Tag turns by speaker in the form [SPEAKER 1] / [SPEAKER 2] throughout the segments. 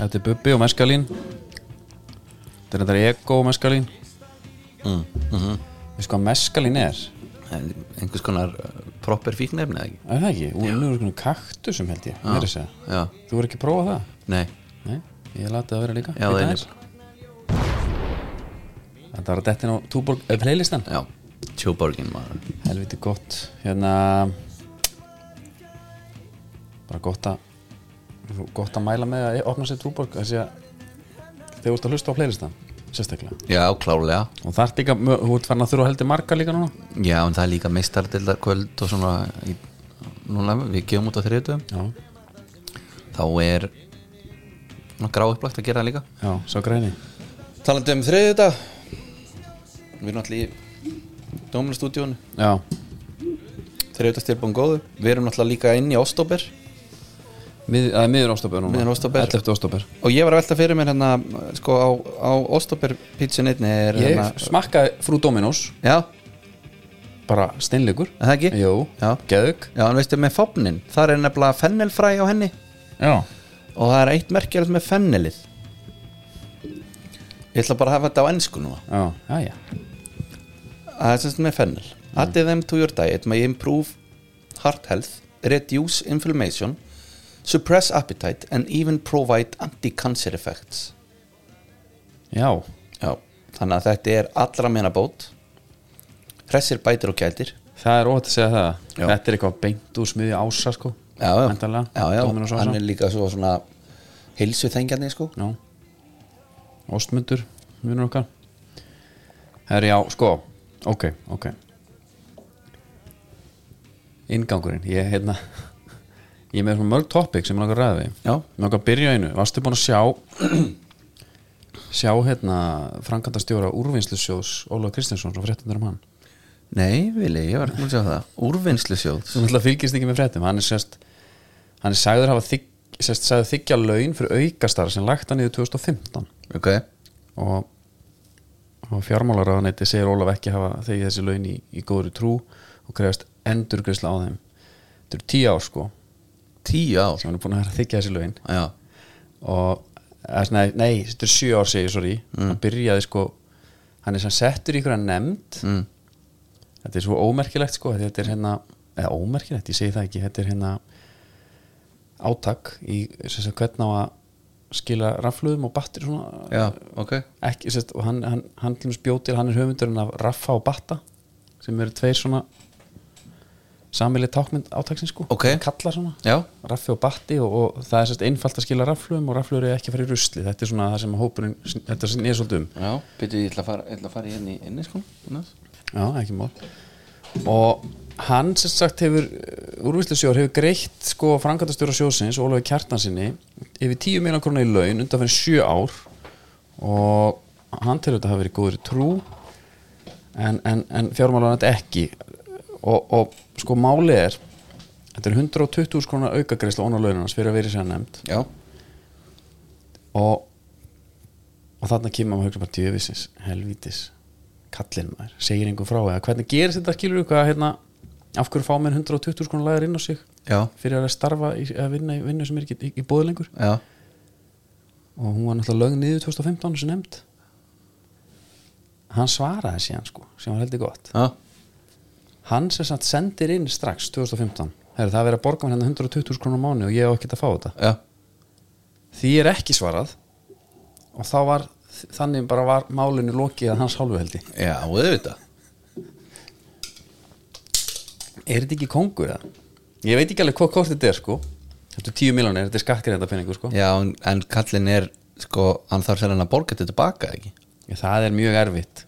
[SPEAKER 1] Þetta er Bubbi og Meskalín Þetta er þetta Ego og Meskalín
[SPEAKER 2] mm, mm -hmm.
[SPEAKER 1] Veistu hvað Meskalín er?
[SPEAKER 2] einhvers konar uh, proper fíknefni eða ekki
[SPEAKER 1] Er það ekki? Úr nú er svona kaktusum held ég meira að segja.
[SPEAKER 2] já,
[SPEAKER 1] Þú voru ekki að prófa það?
[SPEAKER 2] nei,
[SPEAKER 1] Nei, ég lati það vera líka
[SPEAKER 2] já það
[SPEAKER 1] Í
[SPEAKER 2] er
[SPEAKER 1] dag.
[SPEAKER 2] nýr
[SPEAKER 1] Þetta var að dettin á túborg eh, playlistan
[SPEAKER 2] já, tjóborgin maður
[SPEAKER 1] Helviti gott Hérna Bara gott að gott að mæla með að opna sér túborg þessi að þegar þú ert að hlusta á playlistan sérstaklega
[SPEAKER 2] já, klálega,
[SPEAKER 1] og það er líka, mö- þú ert farin að þurfa að heldur marga líka núna
[SPEAKER 2] já, en það er líka meistardildar kvöld og svona í, núna, við gefum út á þriðutum
[SPEAKER 1] já,
[SPEAKER 2] þá er grá upplagt að gera það líka
[SPEAKER 1] já, svo græni
[SPEAKER 2] talandi um þriðið þetta við erum náttúrulega í Dóminastúdíónu
[SPEAKER 1] já,
[SPEAKER 2] þriðið þetta er búin góður við erum náttúrulega líka inn í Óstóber
[SPEAKER 1] Mið, það er miður ástópur núna
[SPEAKER 2] Miður október.
[SPEAKER 1] 11. ástópur
[SPEAKER 2] og ég var að velta fyrir mér hérna sko á, á Óstóber pítsun einni er
[SPEAKER 1] ég
[SPEAKER 2] hérna
[SPEAKER 1] smakkaði frú Dominos
[SPEAKER 2] já,
[SPEAKER 1] bara steinleikur
[SPEAKER 2] er það ekki?
[SPEAKER 1] jú,
[SPEAKER 2] Já.
[SPEAKER 1] geðug
[SPEAKER 2] já, en veistu með fopnin þar er nefnilega fennelfræ á henni
[SPEAKER 1] já,
[SPEAKER 2] og það er eitt merkjælt með fennelið ég ætla bara að hafa þetta á ennsku núna
[SPEAKER 1] já, já, já
[SPEAKER 2] Það er semst með fennel Addið them to your diet may improve heart health, reduce inflammation suppress appetite and even provide anti-cancer effects
[SPEAKER 1] já,
[SPEAKER 2] Já, þannig að þetta er allra meina bót Hressir bætir og gætir
[SPEAKER 1] það er ótt að segja það
[SPEAKER 2] Já.
[SPEAKER 1] þetta er eitthvað beint úr smiði ása sko
[SPEAKER 2] Já, já,
[SPEAKER 1] Væntanlega,
[SPEAKER 2] já, já.
[SPEAKER 1] Dominos ása.
[SPEAKER 2] hann er líka svo svona heilsu þengjandi sko
[SPEAKER 1] Já Ástmundur, vinnur okkar Herri, já, sko Ok, ok Inngangurinn, ég hérna Ég er með svona mörg topic sem ég langar að ræða við
[SPEAKER 2] Já.
[SPEAKER 1] Mér langar að byrja á einu, varstu búin að sjá Sjá hérna Frankandastjóra úrvinnslusjóðs Ólaug Kristinsson og fréttindur um hann
[SPEAKER 2] Nei, Vili, ég var ekki múin að sjá það Úrvinnslu sjóð
[SPEAKER 1] Þú náttúrulega fylgist ekki með fréttum Hann er sérst Hann er sagður hafa þykk, sérst, sagður þykja laun fyrir aukastar sem lagt hann í 2015
[SPEAKER 2] Ok,
[SPEAKER 1] og, og fjármálaráðaneyti segir Ólaf ekki hafa þegið þessi laun í, í góðri trú og krefast endurgrisla á þeim þetta eru tíu ár sko
[SPEAKER 2] tíu ár
[SPEAKER 1] sem hann er búin að vera að þykja þessi laun
[SPEAKER 2] Já,
[SPEAKER 1] og eða svona, nei, nei, þetta eru sjö ár segir, sorry, hann byrjaði sko hann er sem settur í einhverja nefnd
[SPEAKER 2] mm.
[SPEAKER 1] þetta er svo ómerkilegt sko þetta er hérna, eða ómerkilegt, ég segi það ekki þetta er hérna átak í sem sagt, hvernig á að skila rafluðum og batteri svona
[SPEAKER 2] já, ok
[SPEAKER 1] ekki, sérst, og hann, hann, hann til dæmis bjó til, hann er höfundurinn af Raffa og Batta sem eru tveir svona samilið tákmynd átaksins sko
[SPEAKER 2] Ok.
[SPEAKER 1] kallar svona,
[SPEAKER 2] Já,
[SPEAKER 1] Raffi og Batti og, og það er sérst einfalt að skila raflugum og raflugur er ekki að fara í rusli, þetta er svona það sem hópurinn, sn- þetta er svolítið um
[SPEAKER 2] já, byrju, ég ætla að fara, ég ætla að fara hérna í inni sko
[SPEAKER 1] já, ekki mál og hann sem sagt hefur úrvíslusjóður hefur greitt sko framkvæmtastjóra sjóðsins, Ólafi Kjartansinni yfir 10 miljón krónu í laun undan fyrir 7 ár og hann til þetta hafi verið góður trú en, en, en fjármálanat ekki og, og sko máli er þetta er 120 skrona aukagreisla óna launarnas fyrir að verið sér nefnd
[SPEAKER 2] Já,
[SPEAKER 1] og og þarna kemur maður að hugsa bara djöfisins helvítis, kallinn maður segir einhver frá eða hvernig gerist þetta skilur hvað hérna, af hverju fá menn 120 skonar lagar inn á sig
[SPEAKER 2] já,
[SPEAKER 1] fyrir að starfa í, að vinna í vinnu sem er ekki í, í bóði lengur
[SPEAKER 2] já
[SPEAKER 1] og hún var náttúrulega lögn niður 2015 sem nefnd hann svaraði síðan sko, sem var heldur gott
[SPEAKER 2] Já,
[SPEAKER 1] hann sem sagt sendir inn strax 2015, Heru, það er verið að borga mér hérna 120 krónum á mánu og ég á ekkert að fá þetta
[SPEAKER 2] já,
[SPEAKER 1] því er ekki svarað og þá var þannig bara var málinu lokið að hans hálfu heldi
[SPEAKER 2] já, auðvitað
[SPEAKER 1] er þetta ekki kongur eða? ég veit ekki alveg hvað hvort þetta er sko þetta er 10 miljonir, þetta er skattgreynda peningur sko
[SPEAKER 2] Já, en, en kallin er, sko, hann þarf sér hann að borga þetta tilbaka, ekki?
[SPEAKER 1] það er mjög erfitt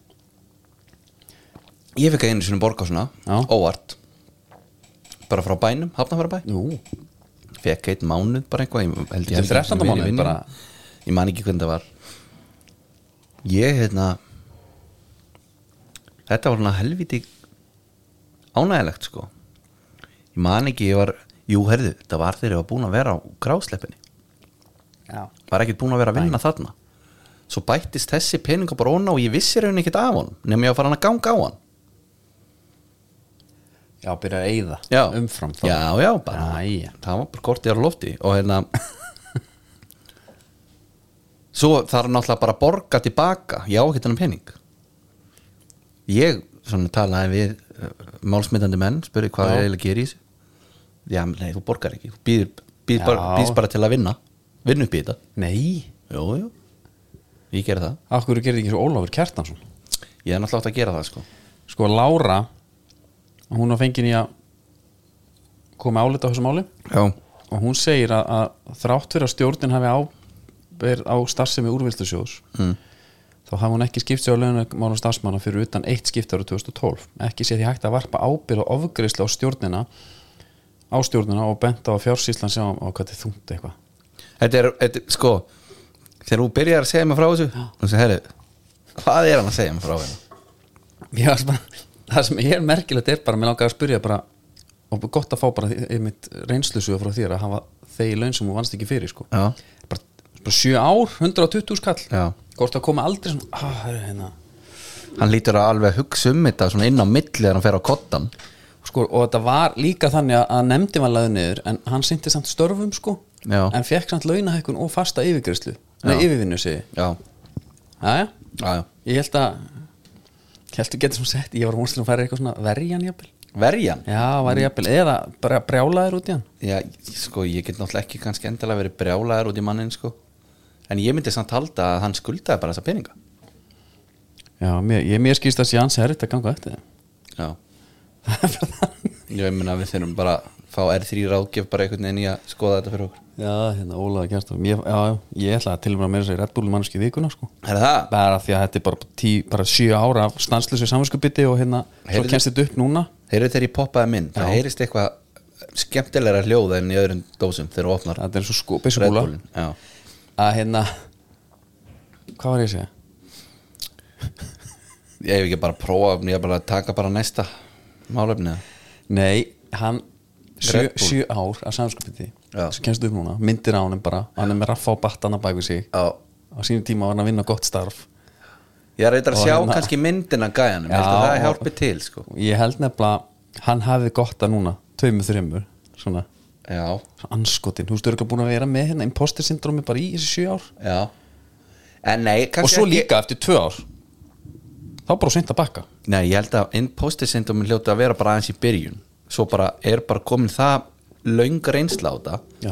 [SPEAKER 2] Ég fikk að einu sinni borga svona,
[SPEAKER 1] Já.
[SPEAKER 2] óvart Bara frá bænum, hafnafæra bæ
[SPEAKER 1] Nú,
[SPEAKER 2] Fekk eitt mánuð bara eitthvað ég held ég hafi
[SPEAKER 1] Til
[SPEAKER 2] ekki verið
[SPEAKER 1] 13
[SPEAKER 2] í
[SPEAKER 1] mánuð
[SPEAKER 2] vinnunni.
[SPEAKER 1] bara?
[SPEAKER 2] Ég man ekki hvernig það var Ég, hérna Þetta var svona helviti ánægilegt, sko Ég man ekki, ég var Jú, herðu, þetta var þegar ég var búin að vera á grásleppinni
[SPEAKER 1] já,
[SPEAKER 2] var ekkert búin að vera að vinna þarna svo bættist þessi peninga bara onna og ég vissi raunin ekkert af honum nema ég var farin að ganga á hann
[SPEAKER 1] já byrja að eyða
[SPEAKER 2] já.
[SPEAKER 1] umfram
[SPEAKER 2] já, já, bara
[SPEAKER 1] Æja.
[SPEAKER 2] það var bara kortið á lofti og hérna svo þarf náttúrulega bara að borga tilbaka ég á ekki þennan pening ég svona talaði við uh, málsmitandi menn, spurði hvað
[SPEAKER 1] Já.
[SPEAKER 2] er eiginlega að gera í þessu já, menn, nei, þú borgar ekki þú býður, býður
[SPEAKER 1] Já.
[SPEAKER 2] bara, býðst bara til að vinna vinna upp í þetta
[SPEAKER 1] Nei,
[SPEAKER 2] jú, jú. ég gera það
[SPEAKER 1] akkur gerði ekki svo Ólafur Kjartansson
[SPEAKER 2] ég er náttúrulega átt að gera það sko
[SPEAKER 1] Sko Lára hún á fengin í að koma álita á þessu máli
[SPEAKER 2] já,
[SPEAKER 1] og hún segir að, að þrátt fyrir að stjórnin hafi ábyrð á starfsemi úrvilstusjóðs mm. þá hafi hún ekki skipt sér á launamálum starfsmanna fyrir utan eitt skipt ára 2012 ekki sé því hægt að varpa ábyrð og ofgreyslu á stjórnina á stjórnina og benta á að fjársýslan sem á hvað þið þungt eitthvað
[SPEAKER 2] þetta er, þetta, er- sko þegar þú byrjar að segja mig frá þessu þú segir, herri, hvað er hann að segja mig frá hérna?" henni
[SPEAKER 1] Já, það sem bara, það sem ég er merkilegt er bara, mér langar að spyrja bara og gott að fá bara þi- einmitt reynslusögu frá þér að hafa þegi laun sem hún vannst ekki fyrir sko.
[SPEAKER 2] já,
[SPEAKER 1] bara, bara 7 ár, 120 skall
[SPEAKER 2] já
[SPEAKER 1] Gort að koma aldrei svona ah, það er hérna.
[SPEAKER 2] hann lítur að alveg hugsa um þetta svona inn á milli þegar hann fer á kottan
[SPEAKER 1] sko, og þetta var líka þannig að- að nefndi var laðu niður en hann synti samt störfum sko
[SPEAKER 2] Já.
[SPEAKER 1] en fekk samt launahækkun og fasta yfirgreyslu nei, yfirvinnu segi
[SPEAKER 2] já,
[SPEAKER 1] Jæja,
[SPEAKER 2] já, já
[SPEAKER 1] ég held að ég held að geta sem sett, ég var vonstilega að færa eitthvað svona verjan jafnvel
[SPEAKER 2] verjan
[SPEAKER 1] Já, var jafnvel, eða bara brjálaður út í hann
[SPEAKER 2] já, sko, ég get náttúrulega ekki kannski endalega verið brjálaður út í mannin, sko en ég myndi samt halda að hann skuldaði bara þessa peninga
[SPEAKER 1] Já, mér, ég, mér skýrst að sé hans herrið að ganga eftir þeim
[SPEAKER 2] já ég myndi að við þurfum bara að fá R3 ráðgjöf bara einhvern veginn í að skoða þetta fyrir okkur
[SPEAKER 1] Já, hérna Ólaði Kjartan ég, Já, já, ég ætla að tilvæmra meira sér Red Bull mannski vikuna sko
[SPEAKER 2] er það?
[SPEAKER 1] bara af því að þetta er bara, tí, bara sjö ára af stanslösu samvinskubiti og hérna
[SPEAKER 2] Heyrðu-
[SPEAKER 1] svo kemst þetta upp núna
[SPEAKER 2] heyrðu þegar ég poppaði minn, það heyrist eitthvað skemmtilegra hljóða en í öðrum dósum þegar þú opnar
[SPEAKER 1] þetta er svo sko,
[SPEAKER 2] Red
[SPEAKER 1] byssubúla
[SPEAKER 2] Bullinn. já,
[SPEAKER 1] að hérna hvað var ég að segja?
[SPEAKER 2] ég hef ekki bara að prófa ég hef bara að taka bara næsta málefni eða?
[SPEAKER 1] Nei, hann sjö,
[SPEAKER 2] Red Bull.
[SPEAKER 1] sjö ár af samvinskubiti
[SPEAKER 2] Já.
[SPEAKER 1] svo kemst þetta upp núna, myndir á hann bara hann er með raffa á battana bak við sig
[SPEAKER 2] já,
[SPEAKER 1] á sínum tíma var hann að vinna gott starf
[SPEAKER 2] ég er reyndar að
[SPEAKER 1] Og
[SPEAKER 2] sjá
[SPEAKER 1] hérna-
[SPEAKER 2] kannski myndina gæjanum, ég
[SPEAKER 1] Já.
[SPEAKER 2] held að það hjálpi til sko.
[SPEAKER 1] og ég held nefnilega hann hafið gott að núna, tveimur, þreimur svona,
[SPEAKER 2] já,
[SPEAKER 1] svona anskotin, þú veist, þú eru ekki búin að vera með hérna imposter syndromi bara í þessi sjö ár
[SPEAKER 2] já en nei, kannski
[SPEAKER 1] og svo
[SPEAKER 2] ekki-
[SPEAKER 1] líka eftir tvö ár þá bara sent að bakka
[SPEAKER 2] Nei, ég held að imposter syndromin hljóti að vera bara aðeins í byrjun svo bara er bara komin það löng reynsla á þetta
[SPEAKER 1] Já.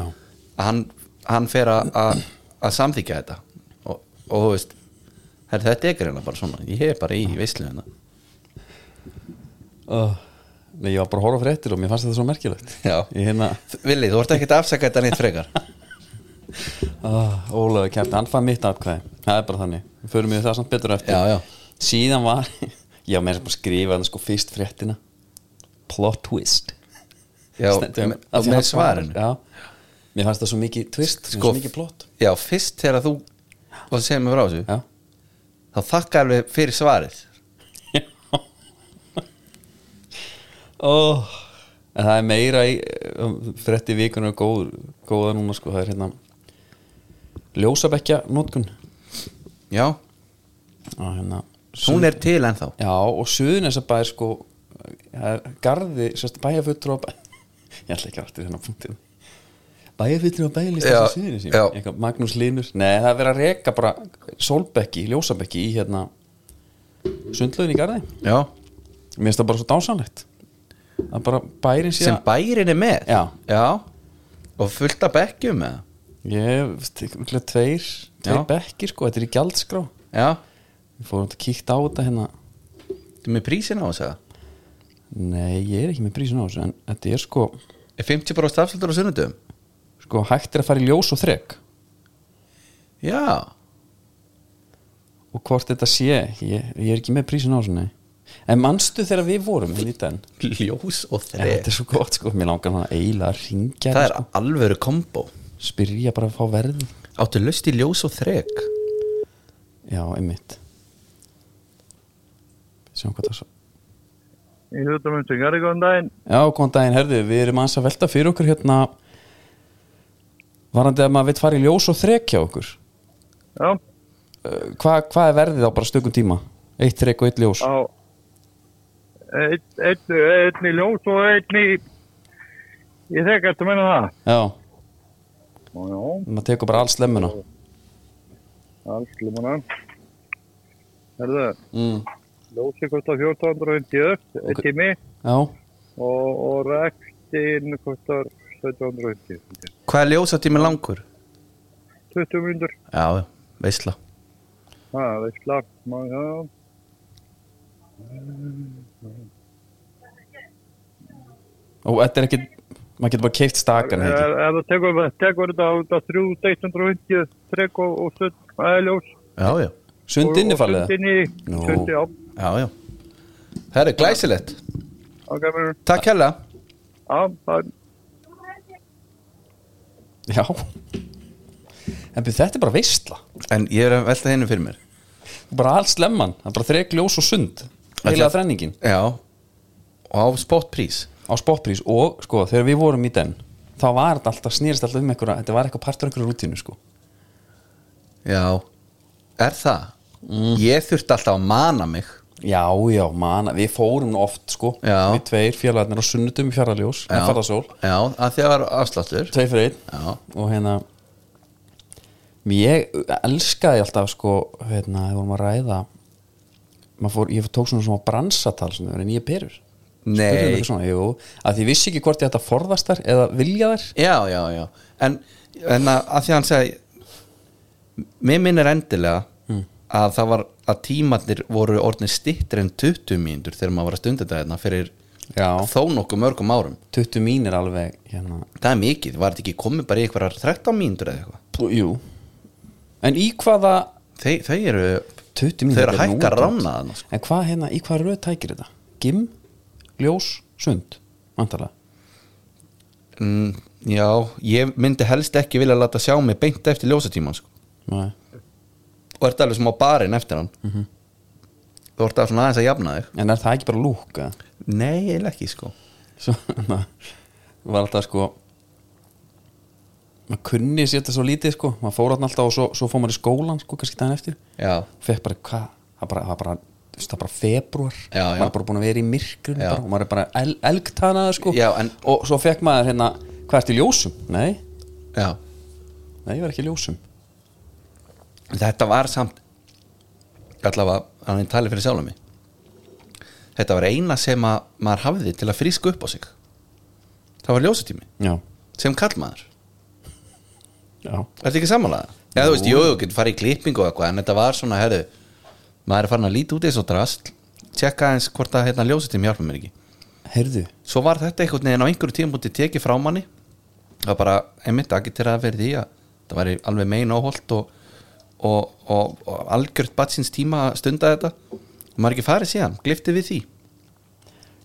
[SPEAKER 2] að hann, hann fer að- að að samþykja þetta og, og þú veist, her, þetta er greina bara svona ég er bara í veislu hérna
[SPEAKER 1] Nei, ég var bara að horfa fréttir og mér fannst þetta svo merkilegt
[SPEAKER 2] Já.
[SPEAKER 1] Ég hérna,
[SPEAKER 2] Vili, þú ert ekkert að afsaka þetta neitt frekar
[SPEAKER 1] uh, Ólaður Kjartan, hann fann mitt atkvæði Það er bara þannig, við förum við það samt betur á eftir
[SPEAKER 2] Já, já.
[SPEAKER 1] Síðan var, já, mér er bara að skrifa hann sko fyrst fréttina Plot twist
[SPEAKER 2] Já,
[SPEAKER 1] Stendur-
[SPEAKER 2] me-
[SPEAKER 1] af
[SPEAKER 2] og
[SPEAKER 1] því
[SPEAKER 2] með
[SPEAKER 1] hann-
[SPEAKER 2] svarinu Sko,
[SPEAKER 1] Já, mér fannst það svo mikið twist, svo mikið plot
[SPEAKER 2] Já, fyrst þegar þú og það segir mér frá þessu
[SPEAKER 1] Já,
[SPEAKER 2] þá þakka alveg fyrir svarið
[SPEAKER 1] oh. En það er meira í um, frétti vikunum góð, góða núna sko, það er hérna ljósabekja notkun
[SPEAKER 2] Já,
[SPEAKER 1] og hérna
[SPEAKER 2] hún er til ennþá
[SPEAKER 1] Já, og Suðunesabæðir sko eh, garði, sérst, bæjarfulltrú og bæ... ég ætla ekki aftur hérna punktið bæjarfulltrú og bæjarlista
[SPEAKER 2] Já,
[SPEAKER 1] sem Suðunes
[SPEAKER 2] já.
[SPEAKER 1] eitthvað Magnús Linus, nei það er verið að reka bara Solbekki, Ljósabekki í hérna sundlaugin í garði
[SPEAKER 2] Já,
[SPEAKER 1] mér finnst það bara svo dásanlegt að bara bærin
[SPEAKER 2] sem
[SPEAKER 1] síðan
[SPEAKER 2] bærin er með
[SPEAKER 1] Já.
[SPEAKER 2] Og fullt af bekkjum með
[SPEAKER 1] ég, tveir, tveir
[SPEAKER 2] Já.
[SPEAKER 1] bekkir sko, þetta er í gjaldskrá
[SPEAKER 2] Já,
[SPEAKER 1] við fórum að kíkta á þetta hérna
[SPEAKER 2] þú er með prísin á þess að
[SPEAKER 1] nei, ég er ekki með prísin á þessu en þetta er sko,
[SPEAKER 2] Er 50 bara stafsöldur á sunnudum?
[SPEAKER 1] sko hægt er að fara í ljós og þrek
[SPEAKER 2] Já,
[SPEAKER 1] og hvort þetta sé ég, ég er ekki með prísin á þessu nei en manstu þegar við vorum hérna í den
[SPEAKER 2] ljós og
[SPEAKER 1] en
[SPEAKER 2] þrek
[SPEAKER 1] þetta er svo gott sko, mér langar hann að eila að ringja
[SPEAKER 2] Það er
[SPEAKER 1] sko.
[SPEAKER 2] alvöru kombo
[SPEAKER 1] spyrja bara að fá verð
[SPEAKER 2] Áttu löst í ljós og þrek
[SPEAKER 1] já, einmitt sjáum hvað það svo
[SPEAKER 3] Ég hluta um þetta, gerði góðan daginn.
[SPEAKER 1] já, góðan daginn, herðu, við erum aðeins að velta fyrir okkur hérna varandi að maður veit fara í ljós og þrek hjá okkur
[SPEAKER 3] Já,
[SPEAKER 1] Uh, hvað hva er verðið á bara stökum tíma eitt þrek og eitt ljós
[SPEAKER 3] á einn ein, ein í ljós og einn í ég þekk eftir meina það.
[SPEAKER 1] já,
[SPEAKER 3] Já, já,
[SPEAKER 1] maður tekur bara alls lemmuna
[SPEAKER 3] alls limona Herðu,
[SPEAKER 1] mm.
[SPEAKER 3] ljósi kostar 1450 okay.
[SPEAKER 1] Ok.
[SPEAKER 3] tími
[SPEAKER 1] Já,
[SPEAKER 3] og, og rektin kostar 1750
[SPEAKER 2] Hvað er ljósatími langur?
[SPEAKER 3] 20 minnur,
[SPEAKER 2] Já, veistla
[SPEAKER 3] það er slagt maður já
[SPEAKER 1] og þetta er ekki maður getur bara keift stakan
[SPEAKER 3] Ef
[SPEAKER 1] ekki?
[SPEAKER 3] ef þú tekur, tekur þetta út að 3150 trekk og, og stund aðljós
[SPEAKER 2] Já, já,
[SPEAKER 1] Sundinni fallið það?
[SPEAKER 3] Sundinni,
[SPEAKER 1] Nú.
[SPEAKER 3] sundi á
[SPEAKER 2] já, já Það er glæsilegt
[SPEAKER 3] ágæmur
[SPEAKER 2] Takk hella
[SPEAKER 3] Já, það er
[SPEAKER 1] Já En byrju, þetta er bara veistla
[SPEAKER 2] En ég er að velta henni fyrir mér
[SPEAKER 1] bara alls lemman, það er bara þrek ljós og sund heila
[SPEAKER 2] Ætla-
[SPEAKER 1] þrenningin
[SPEAKER 2] Já Og á spottprís
[SPEAKER 1] á spotprís og sko, þegar við vorum í den þá var þetta alltaf, snýrist alltaf um einhverja þetta var eitthvað partur af einhverju rútínu sko
[SPEAKER 2] Já Er það? Ég þurfti alltaf að mana mig
[SPEAKER 1] Já, já, man, við fórum nú oft sko
[SPEAKER 2] Já.
[SPEAKER 1] við tveir félagarnir á sunnutum í fjarlaljós með farðasól,
[SPEAKER 2] Já, að því að var afsláttur
[SPEAKER 1] tveir fyrir einn
[SPEAKER 2] Já,
[SPEAKER 1] og hérna ég elskaði alltaf sko hérna, þegar vorum að ræða maður fór, ég tók svona svona bransatal sem þau verið nýja perur Spurðu mig
[SPEAKER 2] nei
[SPEAKER 1] eitthvað svona, jú, að því ég vissi ekki hvort ég ætti að forðast þær eða vilja þær
[SPEAKER 2] Já, já, já En, en að, að því að hann segi Mér minnir endilega að það var að tímarnir voru orðin stittir en 20 mínútur þegar maður var að stunda þetta hérna fyrir
[SPEAKER 1] Já.
[SPEAKER 2] þó nokkuð mörgum árum
[SPEAKER 1] 20 mín er alveg hérna,
[SPEAKER 2] Það er mikið, var þetta ekki komið bara í eitthvað 13 mínútur eða eitthvað
[SPEAKER 1] pú, jú en í hvaða
[SPEAKER 2] Þe, Þau eru,
[SPEAKER 1] 20 mín
[SPEAKER 2] þau eru að hækka ránaðan sko.
[SPEAKER 1] en hvað hérna, í hvað röð tækir þetta gim, ljós, sund vantarlega
[SPEAKER 2] mm, Já, ég myndi helst ekki vilja láta sjá mig beint eftir ljósatíman sko.
[SPEAKER 1] Nei.
[SPEAKER 2] og ert alveg sem á barinn eftir hann Þú ert að svona aðeins að jafna þig
[SPEAKER 1] en er það ekki bara lúka
[SPEAKER 2] Nei, eiginlega ekki sko
[SPEAKER 1] svo na, var alltaf sko maður kunni sér þetta svo lítið sko maður fór hann alltaf og svo, svo fór maður í skólan sko kannski daginn eftir
[SPEAKER 2] Já,
[SPEAKER 1] fekk bara hvað það bara, það bara, þú veist, það bara februar
[SPEAKER 2] Já, já.
[SPEAKER 1] maður er bara búin að vera í myrkrun
[SPEAKER 2] Já.
[SPEAKER 1] bara, og maður er bara el, elgtanaður sko
[SPEAKER 2] Já, en-
[SPEAKER 1] og svo fekk maður hérna hvað ertu í ljósum? Nei,
[SPEAKER 2] já
[SPEAKER 1] nei, ég var ekki í ljósum
[SPEAKER 2] þetta var samt allavega, hann er talið fyrir sjálfum mig þetta var eina sem að maður hafði til að fríska upp á sig það var ljósatími
[SPEAKER 1] já,
[SPEAKER 2] sem kallmaður,
[SPEAKER 1] já,
[SPEAKER 2] ertu ekki sammálaða? Já, þú veist, jú, þú getur farið í klippingu og eitthvað en þetta var svona, herðu, maður er farin að líti út eins og drast, tjekka eins hvort að hérna ljósatími hjálpa mér ekki
[SPEAKER 1] heyrðu
[SPEAKER 2] svo var þetta einhvern veginn á einhverju tímpúti tekið frá manni það bara einmitt agiteraði verið því að það væri alveg megin áholt og, og, og, og algjört batsins tíma að stunda þetta og maður ekki farið síðan, gliftið við því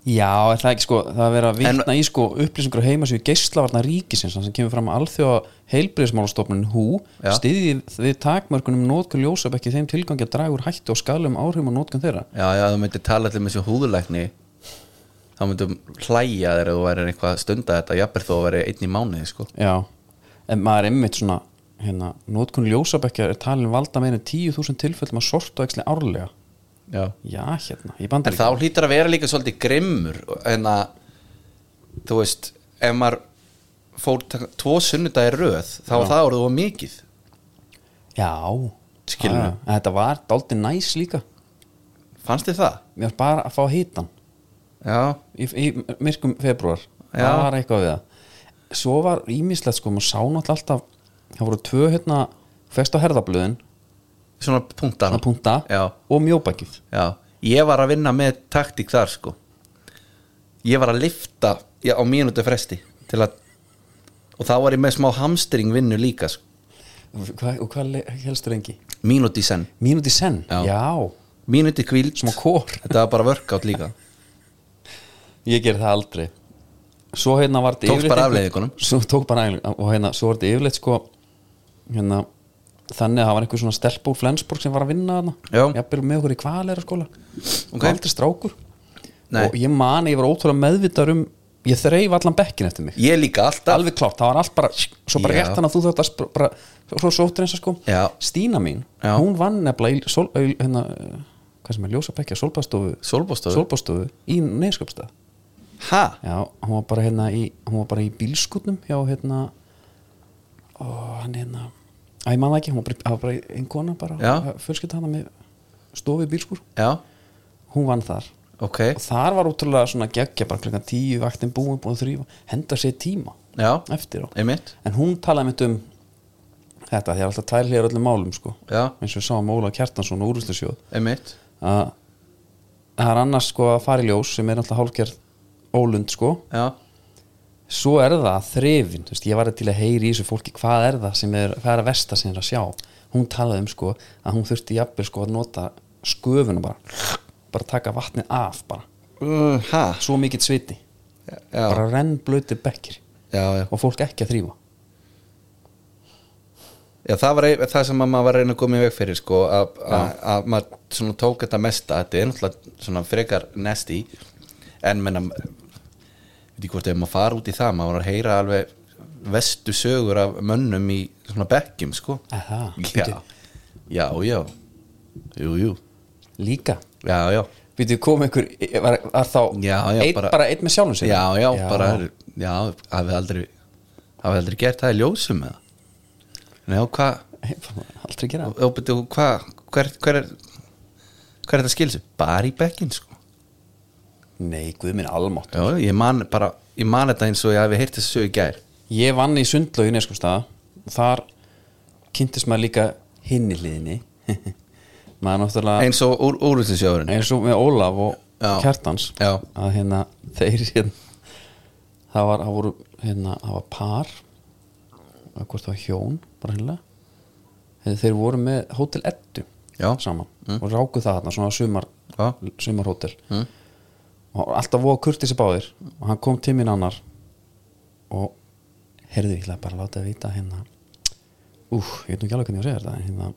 [SPEAKER 1] já, er það ekki sko, það er verið að
[SPEAKER 2] En-
[SPEAKER 1] vitna í sko upplýsingur á heimasíðu geislavarna ríkisins þar sem kemur fram að alþjóða heilbriðismálastofnun HÚ
[SPEAKER 2] Já.
[SPEAKER 1] stiði við takmörkunum nótkun ljósabekki þeim tilgangi að draga úr hættu og skalum áhrifum og nótkun þeirra
[SPEAKER 2] já, já, þú myndir tala allir með þessu húðulækni þá myndum hlæja þeir að þú væri eitthvað að stunda þetta jafnvel þó að veri einn í mánuði sko.
[SPEAKER 1] Já, en maður er einmitt svona hérna, nótkun ljósabekja er talin valda meira en 10.000 tilfellum að sortu ekki árlega
[SPEAKER 2] já.
[SPEAKER 1] Já, hérna, ég
[SPEAKER 2] en
[SPEAKER 1] bandar
[SPEAKER 2] þá hlýtur að vera líka svolítið grimmur en að þú veist, ef maður fór taka- tvo sunnudagi röð þá var það orðið of mikið
[SPEAKER 1] Já,
[SPEAKER 2] Skilurðu?
[SPEAKER 1] Já, en Þetta var dálítið næs líka
[SPEAKER 2] Fannst þið það?
[SPEAKER 1] Mér var bara að fá hitan
[SPEAKER 2] Já,
[SPEAKER 1] í, í myrkum februar
[SPEAKER 2] Já.
[SPEAKER 1] það var eitthvað við það svo var ímislegt sko, maður sá náttúrulega alltaf það voru tvö hérna fest á herðablöðin,
[SPEAKER 2] svona punktar
[SPEAKER 1] að punta
[SPEAKER 2] Já,
[SPEAKER 1] og mjóbækið
[SPEAKER 2] já Ég var að vinna með taktík þar sko Ég var að lifta já, á mínútu fresti til að og þá var ég með smá hamstring vinnu líka sko.
[SPEAKER 1] Hva, og hvað le- hélstu lengi?
[SPEAKER 2] mínútu í senn,
[SPEAKER 1] mínúti senn,
[SPEAKER 2] Já.
[SPEAKER 1] já
[SPEAKER 2] mínútu kvíld
[SPEAKER 1] smá kór
[SPEAKER 2] Þetta var bara workout líka
[SPEAKER 1] Ég ger það aldrei Svo hérna var þetta
[SPEAKER 2] Tókst
[SPEAKER 1] yfirleitt
[SPEAKER 2] bara
[SPEAKER 1] einhver-
[SPEAKER 2] afleiðingunum.
[SPEAKER 1] Svo tók bara afleiðingunum Og hérna, svo var þetta yfirleitt sko Hérna, þannig að það var einhver svona stelp úr Flensborg sem var að vinna þarna
[SPEAKER 2] Já.
[SPEAKER 1] Jafnvel með okkur í kvalera skóla
[SPEAKER 2] Ok.
[SPEAKER 1] Og aldrei strákur
[SPEAKER 2] Nei.
[SPEAKER 1] Og ég man, að ég var ótrúlega meðvitaður um Ég þreif allan bekkin eftir mig
[SPEAKER 2] Ég líka alltaf
[SPEAKER 1] Alveg klárt, það var allt bara Svo bara
[SPEAKER 2] Já.
[SPEAKER 1] rétt hann að þú þátt að spr- bara, Svo sóttir eins og sko
[SPEAKER 2] Já.
[SPEAKER 1] Stína mín,
[SPEAKER 2] Já.
[SPEAKER 1] hún vann nefnilega í sól, au- hérna, eh, Hvað sem er ljósa bekkja, sólbástofu
[SPEAKER 2] Sólbóðstofu
[SPEAKER 1] Sólbástofu í neyskapstað
[SPEAKER 2] Ha?
[SPEAKER 1] Já, hún var bara hérna í, hún var bara í bílskutnum hjá hérna ó, hann hérna Æ, ég man það ekki, hún var bara, það var bara einn kona bara,
[SPEAKER 2] Já.
[SPEAKER 1] fullskipt hana með stofi bílskur,
[SPEAKER 2] já,
[SPEAKER 1] hún vann þar
[SPEAKER 2] ok
[SPEAKER 1] og þar var ótrúlega svona geggja bara klukkan tíu, vaktin búin, búin að þrýfa henda sér tíma
[SPEAKER 2] já,
[SPEAKER 1] eftir á
[SPEAKER 2] einmitt
[SPEAKER 1] en hún talaði mitt um þetta, því að alltaf tælir hér öllum málum sko,
[SPEAKER 2] já,
[SPEAKER 1] eins og við sáum Óla Kjartansson og úrúslisjóð
[SPEAKER 2] einmitt
[SPEAKER 1] að það er annars sko að fara í ljós sem er alltaf hálfgerð ólund sko
[SPEAKER 2] já,
[SPEAKER 1] svo er það þrefin, þú veist, ég var til að heyri í þessu fólki, hvað er það sem er, það er að versta sem er að sjá, hún talaði um sko að hún þurfti jafnvel sko að nota sköfun og bara, bara taka vatnið af bara,
[SPEAKER 2] uh, ha
[SPEAKER 1] svo mikill sviti
[SPEAKER 2] já,
[SPEAKER 1] bara rennblöti bekkir
[SPEAKER 2] já, já
[SPEAKER 1] og fólk ekki að þrýfa
[SPEAKER 2] Já, það var ein, það sem að maður var að reyna að koma í veg fyrir sko, að- að að maður svona tók þetta mesta, þetta er náttúrulega svona frekar nasty en menna veit ekki hvort ef maður fara út í það maður var að heyra alveg vestu sögur af mönnum í svona bekkjum sko.
[SPEAKER 1] Aha,
[SPEAKER 2] já, já, já jú, jú,
[SPEAKER 1] líka
[SPEAKER 2] já, já
[SPEAKER 1] Býtu kom einhver, var, var þá
[SPEAKER 2] Já, já,
[SPEAKER 1] einn, bara,
[SPEAKER 2] bara-
[SPEAKER 1] einn með sjálfum sér
[SPEAKER 2] já, já, bara já, hafið aldrei hafið aldrei gert það í ljósum eða Nei, og hvað
[SPEAKER 1] Aldrei gera
[SPEAKER 2] og betur þú hvað hver, hver er hver er þetta skilsu? bara í bekkin sko
[SPEAKER 1] Nei, guð minn almátt
[SPEAKER 2] Já, ég man bara, ég man þetta eins og ég hefði heyrt þessu sögu í gær
[SPEAKER 1] Ég vann í sundlaug í Neskúmstaða og þar kynntist maður líka hinni hliðinni maður náttúrulega
[SPEAKER 2] eins og úr, úrlýsinsjóðurinn
[SPEAKER 1] eins og með Ólaf og
[SPEAKER 2] Já.
[SPEAKER 1] Kjartans
[SPEAKER 2] Já.
[SPEAKER 1] að hérna þeir hérna, það var, það voru hérna, það var par eða hvort það var hjón bara hérna þeir voru með Hotel Eddu
[SPEAKER 2] Já. Mm.
[SPEAKER 1] saman og ráku það þarna svona sumar,
[SPEAKER 2] Já.
[SPEAKER 1] sumarhótel
[SPEAKER 2] Mm.
[SPEAKER 1] og alltaf voða kurtið sér báðir og hann kom til mín annar og heyrðu ég ætla bara að láta að vita hérna úf, ég veit nú ekki alveg hvernig ég á að segja þetta en hérna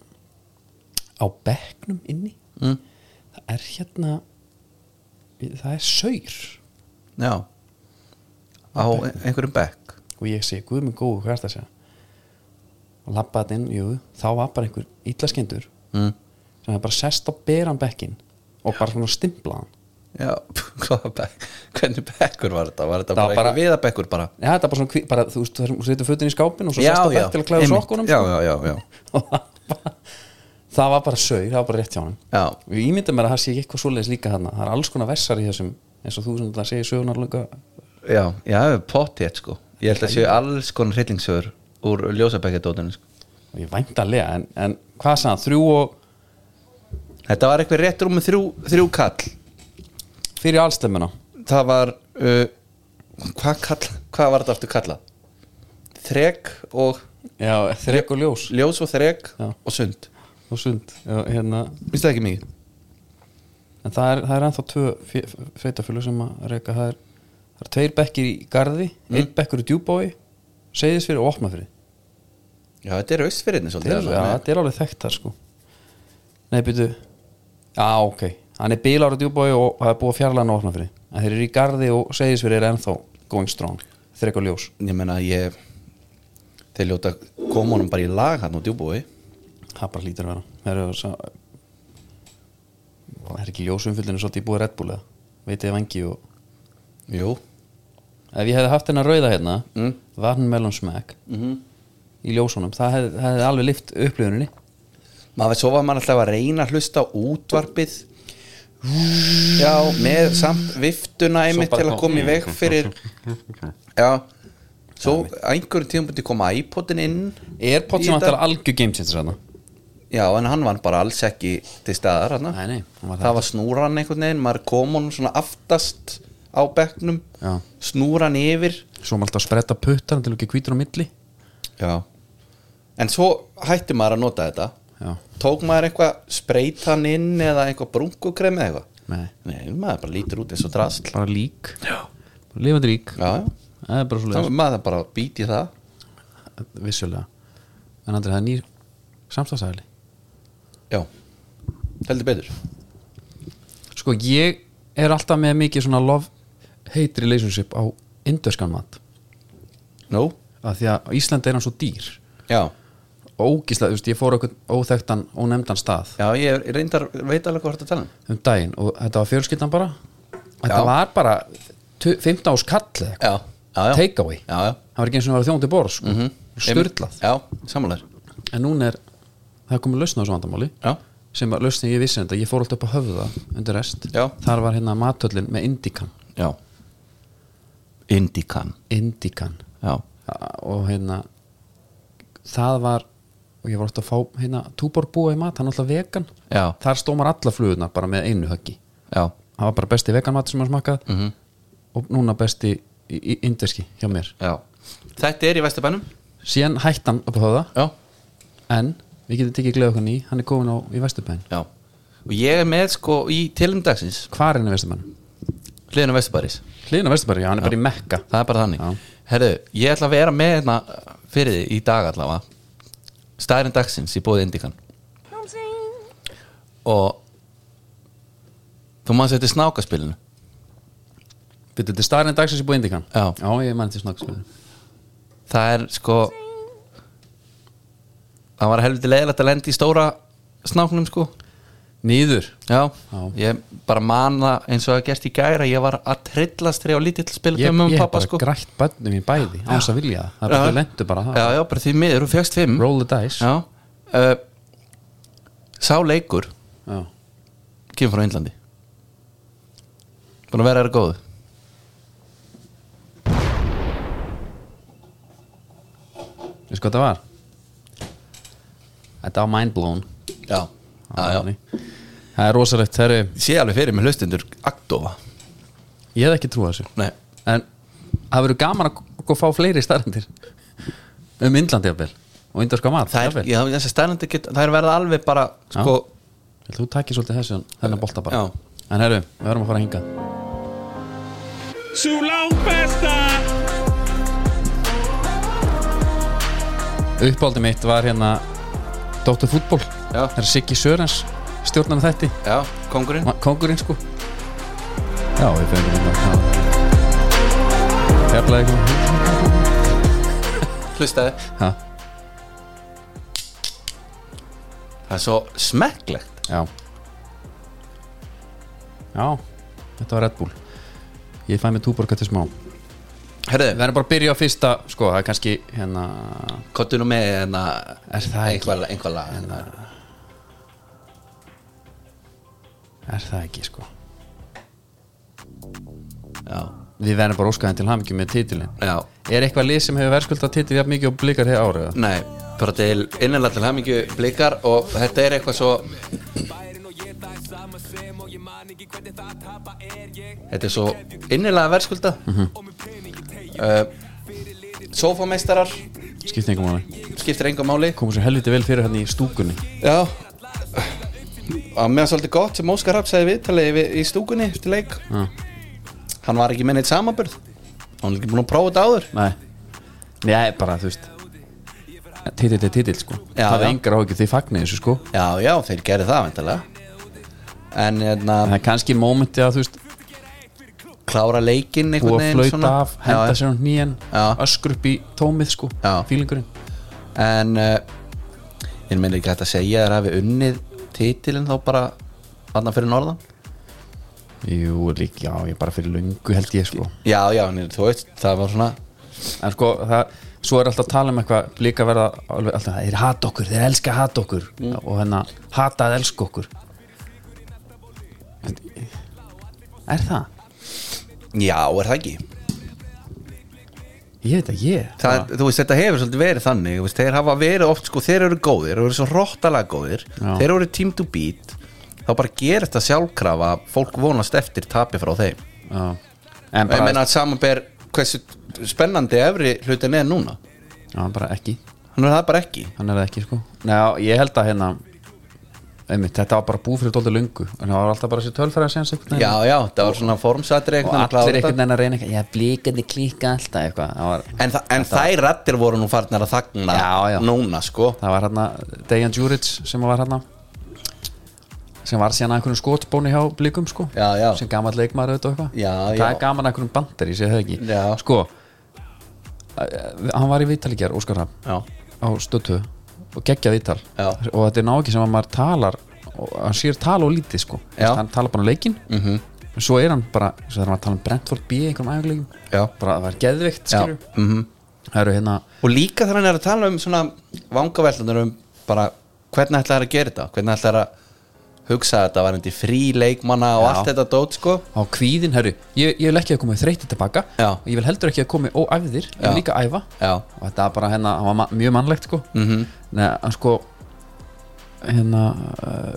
[SPEAKER 1] á bekknum inni
[SPEAKER 2] mm.
[SPEAKER 1] það er hérna það er saur
[SPEAKER 2] já á einhverjum bekk
[SPEAKER 1] og ég segi, guð minn góð, hvað er það að segja og labba þetta inn, jú þá var bara einhver illaskendur
[SPEAKER 2] mm.
[SPEAKER 1] sem hefði bara sest á beran bekkin og bara svona stimplaðan
[SPEAKER 2] já, hvaða bekk hvernig bekkur var þetta? var þetta
[SPEAKER 1] Það var
[SPEAKER 2] bara, bara
[SPEAKER 1] bara-
[SPEAKER 2] viðabekkur bara?
[SPEAKER 1] Já, þetta er bara svona, hví- bara, þú veist, þú setur fötin í skápin og svo
[SPEAKER 2] já,
[SPEAKER 1] sest á
[SPEAKER 2] já,
[SPEAKER 1] bekk til að klæða
[SPEAKER 2] einmitt.
[SPEAKER 1] sokkunum
[SPEAKER 2] já,
[SPEAKER 1] sko.
[SPEAKER 2] já, já, já,
[SPEAKER 1] Og það var bara- það var bara saur, það var bara rétt hjá hann
[SPEAKER 2] já,
[SPEAKER 1] og ég ímynda mér að það sé ekki eitthvað svoleiðis líka þarna það er alls konar vessar í þessum eins og þú sem það segir sögunarlega
[SPEAKER 2] já, já potið sko ég held að séu alls konar hryllingsögur úr ljósabekkjadótinu sko.
[SPEAKER 1] og ég væntanlega, en, en hvað sagði hann, þrjú og
[SPEAKER 2] þetta var eitthvað rétt rúmið þrjú, þrjú kall
[SPEAKER 1] fyrir allstemmuna
[SPEAKER 2] það var uh, hvað, kalla, hvað var þetta aftur kallað? þrek og
[SPEAKER 1] Já, þrek og ljós
[SPEAKER 2] ljós og þrek
[SPEAKER 1] Já.
[SPEAKER 2] og sund
[SPEAKER 1] og sund Já, hérna.
[SPEAKER 2] finnst það ekki mikið?
[SPEAKER 1] en það er, það er ennþá tvö feitafjölu sem að reyka það er, það er tveir bekkir í garði
[SPEAKER 2] Mm.
[SPEAKER 1] einn bekkur í djúbói segðis fyrir og opna fyrir
[SPEAKER 2] já, þetta er austfyrirni
[SPEAKER 1] það
[SPEAKER 2] svolítið
[SPEAKER 1] er, ja,
[SPEAKER 2] alveg.
[SPEAKER 1] þetta er alveg þekkt þar sko nei, byrju já, ok, hann er bílar á djúbói og það er búið að fjarlæna og opna fyrir en þeir eru í garði og segðis fyrir er ennþá going strong, þrek og ljós
[SPEAKER 2] ég meina ég þeir ljóta koma honum bara í lag hann og djúbúi
[SPEAKER 1] það bara lítur að vera það eru svo það er ekki ljósumfyllinu svolítið búið Red Bull eða veit ég vangi og
[SPEAKER 2] jú
[SPEAKER 1] ef ég hefði haft hennar rauða hérna
[SPEAKER 2] Mm.
[SPEAKER 1] vatn melon smack
[SPEAKER 2] -hmm.
[SPEAKER 1] í ljósunum, það hefði, það hefði alveg lift upplifuninni
[SPEAKER 2] maður svo var maður alltaf að reyna að hlusta á útvarpið já, með samt viftuna einmitt
[SPEAKER 1] bara
[SPEAKER 2] til að
[SPEAKER 1] kom-
[SPEAKER 2] koma í veg fyrir já svo á einhverjum tíum búin koma iPodin inn Í
[SPEAKER 1] Airpods sem
[SPEAKER 2] þetta-
[SPEAKER 1] ætlar algjör gamesins þarna
[SPEAKER 2] Já, en hann var bara alls ekki til staðar hann.
[SPEAKER 1] Nei, nei, hann var það
[SPEAKER 2] Það var snúran einhvern veginn, maður kom honum svona aftast á bekknum,
[SPEAKER 1] Já.
[SPEAKER 2] snúran yfir
[SPEAKER 1] svo maður alltaf að spretta puttar til ekki hvítur á milli
[SPEAKER 2] Já En svo hætti maður að nota þetta
[SPEAKER 1] Já.
[SPEAKER 2] Tók maður eitthvað spreytan inn eða eitthvað brúnkukrem eða eitthvað
[SPEAKER 1] Nei.
[SPEAKER 2] Nei, maður bara lítur út eins og drasl
[SPEAKER 1] bara lík, bara lifandi lík
[SPEAKER 2] Já, já,
[SPEAKER 1] það er bara svo
[SPEAKER 2] þá er maður bara að býti það
[SPEAKER 1] leiðis vissulega, en andri það er nýr samstagsæðli
[SPEAKER 2] Já, heldur betur
[SPEAKER 1] sko ég er alltaf með mikið svona love hate relationship á indverskan mat
[SPEAKER 2] Nú,
[SPEAKER 1] af því að á Íslandi er hann svo dýr
[SPEAKER 2] já,
[SPEAKER 1] og ógíslega, þú veist, ég fór okkur óþekktan ónefndan stað
[SPEAKER 2] já, ég reyndar veit alveg hvað þetta tala um
[SPEAKER 1] um daginn og þetta var fjölskyldan bara þetta
[SPEAKER 2] Já.
[SPEAKER 1] var bara tu- 15 ás kall eða
[SPEAKER 2] Já, já, já
[SPEAKER 1] takeaway
[SPEAKER 2] Já, já
[SPEAKER 1] það var ekki eins og það var þjóndi borð sko. mm
[SPEAKER 2] Einmitt.
[SPEAKER 1] styrlað
[SPEAKER 2] Já, samanlega
[SPEAKER 1] en núna er það er komið lausna á þessu vandamáli
[SPEAKER 2] já,
[SPEAKER 1] sem að lausni ég vissi þetta, ég fór alltaf upp á höfða undir rest,
[SPEAKER 2] Já.
[SPEAKER 1] þar var hérna matöllin með indikan,
[SPEAKER 2] já Indikan
[SPEAKER 1] indikan
[SPEAKER 2] já,
[SPEAKER 1] og hérna það var og ég var alltaf að fá hérna túborbúa í mat, hann er alltaf vegan
[SPEAKER 2] já,
[SPEAKER 1] þar stómar alla flugurnar bara með einu höggi
[SPEAKER 2] já,
[SPEAKER 1] það var bara besti vegan mat sem hann smakkað
[SPEAKER 2] Mhm.
[SPEAKER 1] -hmm. og núna besti í- í- inderski hjá mér
[SPEAKER 2] já Þetta er í Vesturbænum
[SPEAKER 1] síðan hættan upp á höfða
[SPEAKER 2] Já,
[SPEAKER 1] en við getum tekið gleð okkar ný, hann er komin á í Vesturbæn
[SPEAKER 2] já Og ég er með sko í tilumdagsins
[SPEAKER 1] hvar er hann í Vesturbæn?
[SPEAKER 2] hliðin á Vesturbæris
[SPEAKER 1] hliðin á Vesturbæn, já, hann er bara í Mekka
[SPEAKER 2] það er bara þannig Herðu, ég ætla að vera með hérna fyrir því í dag allavega stærinn dagsins í bóði Indikan og þú manns þetta snákaspilinu
[SPEAKER 1] Býttu, þetta er starinn dagsins í búið Indikan
[SPEAKER 2] Já.
[SPEAKER 1] já ég mann til snakksmjölu
[SPEAKER 2] það er sko það var helviti leiðilegt að lenda í stóra snáknum sko
[SPEAKER 1] nýður
[SPEAKER 2] já,
[SPEAKER 1] Já.
[SPEAKER 2] ég bara man það eins og að gerst í gæra ég var að trillast þegar á lítill spil
[SPEAKER 1] ég,
[SPEAKER 2] með mömmu
[SPEAKER 1] ég
[SPEAKER 2] og
[SPEAKER 1] hef
[SPEAKER 2] pappa
[SPEAKER 1] bara
[SPEAKER 2] sko
[SPEAKER 1] grætt bönnum í bæði á þess að vilja það, það er bara lendu bara það
[SPEAKER 2] já, já, bara því miður, þú fjöxt fimm
[SPEAKER 1] roll the dice
[SPEAKER 2] já, uh, sá leikur
[SPEAKER 1] Já.
[SPEAKER 2] kemur frá Índlandi búin að vera þér góðu
[SPEAKER 1] veistu hvað það var? þetta var mindblown
[SPEAKER 2] já, já, já.
[SPEAKER 1] það er rosalegt það er,
[SPEAKER 2] sé alveg fyrir með hlustundur aktofa
[SPEAKER 1] ég hef ekki trúið þessu
[SPEAKER 2] nei,
[SPEAKER 1] en það verður gaman að k- fá fleiri starrendir um Indlandi jafnvel og indarska mat
[SPEAKER 2] það er,
[SPEAKER 1] jafnvel.
[SPEAKER 2] já, þessi stærnandi get, það er verið alveg bara sko,
[SPEAKER 1] Ég held þú takir svolítið þessu þennan bolta bara
[SPEAKER 2] Já.
[SPEAKER 1] en herru, við verðum að fara að hinga
[SPEAKER 4] Sú langt besta
[SPEAKER 1] uppáldið mitt var hérna Dr. Fútbol
[SPEAKER 2] Já.
[SPEAKER 1] það er Siggi Sörens stjórnar þetta
[SPEAKER 2] já, kongurinn
[SPEAKER 1] kongurinn sko já, við fengum hérna fjarlæði eitthvað
[SPEAKER 2] hlustaði
[SPEAKER 1] Ha,
[SPEAKER 2] það er svo smekklegt
[SPEAKER 1] já já, þetta var Red Bull ég fæ mér túborga til smá við
[SPEAKER 2] herðu,
[SPEAKER 1] verðum bara að byrja á fyrsta sko, það er kannski hérna
[SPEAKER 2] kottu nú með hérna,
[SPEAKER 1] Er það ekki?
[SPEAKER 2] einhver, einhver lag hérna.
[SPEAKER 1] er það ekki sko
[SPEAKER 2] já,
[SPEAKER 1] við verðum bara óskaðin til hamingjum með titilin
[SPEAKER 2] já,
[SPEAKER 1] er eitthvað lið sem hefur verðskuldað titil jafn mikið og blikar hér árið
[SPEAKER 2] nei bara til innanlega til hamingju blikar og þetta er eitthvað svo þetta er svo innanlega verðskulda Eh, mm -hmm. sofameistarar
[SPEAKER 1] skipt einhver máli
[SPEAKER 2] skiptir enga máli
[SPEAKER 1] komum sér helviti vel fyrir hérna í stúkunni
[SPEAKER 2] Já að mér er svolítið gott sem Óskar Rapp sagði viðtalið við, í stúkunni til leik
[SPEAKER 1] Já.
[SPEAKER 2] hann var ekki með neitt samanbörð hann er ekki búin að prófa þetta áður
[SPEAKER 1] Nei, Nei bara þú veist Titill er titill sko
[SPEAKER 2] Já,
[SPEAKER 1] Það er
[SPEAKER 2] já.
[SPEAKER 1] engar áhyggjur því fagnir þessu sko
[SPEAKER 2] já, já, þeir gerði það veintalega en hérna,
[SPEAKER 1] Það er kannski mómenti að þú veist
[SPEAKER 2] klára leikinn
[SPEAKER 1] Búið
[SPEAKER 2] einhvern
[SPEAKER 1] að
[SPEAKER 2] veginn
[SPEAKER 1] flauta af, henda
[SPEAKER 2] já,
[SPEAKER 1] sér á nýjan
[SPEAKER 2] Já.
[SPEAKER 1] Öskur upp í tómið sko
[SPEAKER 2] Já.
[SPEAKER 1] Fílingurinn
[SPEAKER 2] en uh, ég meina ekki hægt að segja þér að við unnið titilin þá bara vanna fyrir norðan
[SPEAKER 1] Jú, lík, já, ég er bara fyrir lungu held ég sko
[SPEAKER 2] já, já, en þú veist, það var svona
[SPEAKER 1] En sko, það, svo er alltaf að tala um eitthvað Líka verða, alveg, alltaf, þeir hata okkur, þeir elska að hata okkur Og hérna, hata að elska okkur Er það?
[SPEAKER 2] já, er það ekki
[SPEAKER 1] Ég veit að ég
[SPEAKER 2] Það, er- þú veist, þetta hefur svolítið verið þannig þú veist, þeir hafa verið oft, sko, þeir eru góðir þeir eru svo hróttalega góðir,
[SPEAKER 1] Já.
[SPEAKER 2] þeir eru team to beat þá bara gerist það sjálfkrafa að fólk vonast eftir tapi frá þeim
[SPEAKER 1] Já. En
[SPEAKER 2] og ég
[SPEAKER 1] bara,
[SPEAKER 2] meina að samanber hversu spennandi efri hlutin er núna
[SPEAKER 1] já, bara ekki
[SPEAKER 2] hann er það bara ekki
[SPEAKER 1] hann er það ekki sko Ná, ég held að hérna einmitt, þetta var bara búið fyrir dóldi lungu en það var alltaf bara þessi tölfæra séns einhvern veginn.
[SPEAKER 2] já, já, það var svona formsatri
[SPEAKER 1] og allir einhvern veginn að reyna eitthvað, já, blíkandi klíka alltaf eitthvað, það var,
[SPEAKER 2] en, þa en þær rættir voru nú farnar að þagna
[SPEAKER 1] Já, já.
[SPEAKER 2] núna, sko
[SPEAKER 1] það var hérna Dejan Djuric sem var hérna sem var síðan að einhvern skotbóni hjá blíkum sko,
[SPEAKER 2] Já, já.
[SPEAKER 1] sem gammal leikmaður auðvitað og eitthvað
[SPEAKER 2] Já,
[SPEAKER 1] það
[SPEAKER 2] já.
[SPEAKER 1] er gaman að einhvern bandar í sig, það ekki
[SPEAKER 2] Já.
[SPEAKER 1] sko, eh, hann var í Vítalíkjar, Óskar Rapp
[SPEAKER 2] já,
[SPEAKER 1] á stötu og geggjað ítal
[SPEAKER 2] Já.
[SPEAKER 1] og þetta er ná ekki sem að maður talar og hann sér tala og lítið sko
[SPEAKER 2] Já.
[SPEAKER 1] Þú
[SPEAKER 2] Mhm.
[SPEAKER 1] veist, hann talar bara um leikin mm -hmm. svo er hann bara, svo þegar hann var að tala um Brentford B í einhverjum æfingleikum
[SPEAKER 2] Já.
[SPEAKER 1] bara að það var geðveikt
[SPEAKER 2] já,
[SPEAKER 1] skilur
[SPEAKER 2] mhm
[SPEAKER 1] það eru hérna
[SPEAKER 2] og líka þegar hann er að tala um svona vangavellunar um bara hvernig ætlaði að gera þetta hvernig ætlaði að hugsa þetta varandi frí leikmanna og
[SPEAKER 1] Já.
[SPEAKER 2] allt þetta dót sko
[SPEAKER 1] á kvíðin, herru, ég, ég vil ekki að koma þreytið tilbaka,
[SPEAKER 2] Já.
[SPEAKER 1] ég vil heldur ekki að koma óæfðir, ég
[SPEAKER 2] Já.
[SPEAKER 1] vil líka æfa
[SPEAKER 2] já,
[SPEAKER 1] og þetta var bara hérna, hann var ma- mjög mannlegt sko
[SPEAKER 2] Mhm.
[SPEAKER 1] Nei, hann sko hérna uh,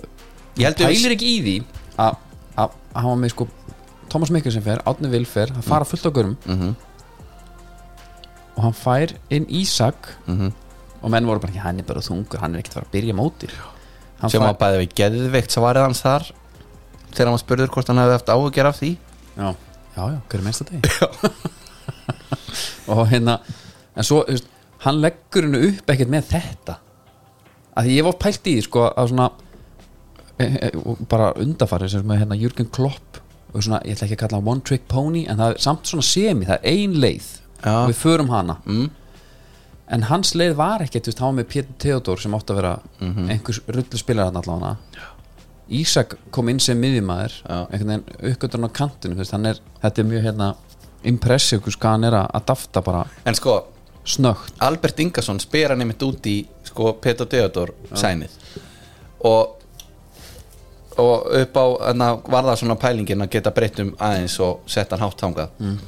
[SPEAKER 2] ég heldur
[SPEAKER 1] pælir ekki í því að að- að hann var með sko Thomas Mikkelsen fer, Átni Vil fer, það fara fullt á görum
[SPEAKER 2] Mhm.
[SPEAKER 1] og hann fær inn Ísak
[SPEAKER 2] Mhm.
[SPEAKER 1] og menn voru bara ekki, hann er bara þungur hann er ekkert að fara að byrja móti hann
[SPEAKER 2] sem
[SPEAKER 1] fær,
[SPEAKER 2] að bæði við geðveikt svarið hans þar þegar hann var spurður hvort hann hefði haft áhugjur af því
[SPEAKER 1] já, já, já, hverju mennsta degi og hérna en svo, þú veist, hann leggur hennu upp ekkert með þetta að því ég var pælt í því, sko að svona e, e, og bara undafarið sem með hérna Jürgen Klopp og svona, ég ætla ekki að kalla hann one trick pony en það er samt svona semi, það er ein leið
[SPEAKER 2] Já.
[SPEAKER 1] og við förum hana
[SPEAKER 2] Mm.
[SPEAKER 1] en hans leið var ekkert, þú veist, hann var með Pétur Theodor sem átti að vera
[SPEAKER 2] Mhm.
[SPEAKER 1] einhvers rullu spilar hann allavega Ísak kom inn sem miðjumæður
[SPEAKER 2] Já.
[SPEAKER 1] einhvern veginn uppgötur á kantinu þú veist, hann er, þetta er mjög hérna impressive, hvers hvað hann er að að dafta bara
[SPEAKER 2] en sko,
[SPEAKER 1] snögt
[SPEAKER 2] Albert Ingarsson spyr hann einmitt út í sko Peter Theodor sænið og og upp á hana, var það svona pælingin að geta breytt um aðeins og sett hann hátt þangað mm.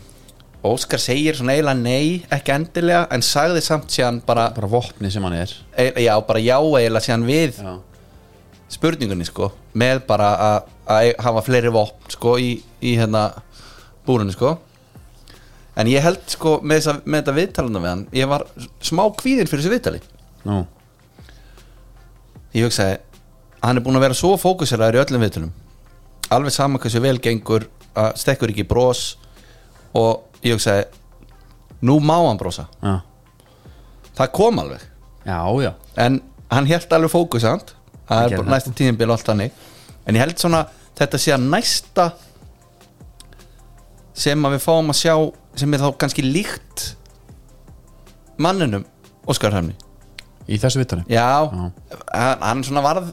[SPEAKER 2] Óskar segir svona eiginlega nei ekki endilega en sagði samt síðan bara,
[SPEAKER 1] bara vopni sem hann er
[SPEAKER 2] eiginlega- já, bara já eiginlega síðan við
[SPEAKER 1] já,
[SPEAKER 2] spurningunni sko með bara að- að eig- hafa fleiri vopn sko í, í hérna búrunni sko en ég held sko með, þessa, með þetta viðtaluna við hann ég var smá kvíðin fyrir þessu viðtali
[SPEAKER 1] nú,
[SPEAKER 2] ég hugsaði hann er búin að vera svo fókuseraður í öllum viðtölum alveg sama hversu vel gengur að stekkur ekki í bros og ég hugsaði nú má hann brosa,
[SPEAKER 1] já,
[SPEAKER 2] það kom alveg
[SPEAKER 1] já, já.
[SPEAKER 2] en hann held alveg fókusand
[SPEAKER 1] Hann
[SPEAKER 2] það er
[SPEAKER 1] gerði
[SPEAKER 2] bara næsta tíðinbíl og allt hannig en ég held svona þetta sé að næsta sem að við fáum að sjá sem er þá kannski líkt manninum Óskar Hörni
[SPEAKER 1] í þessu vittari
[SPEAKER 2] Já,
[SPEAKER 1] Já.
[SPEAKER 2] Hann, hann svona varð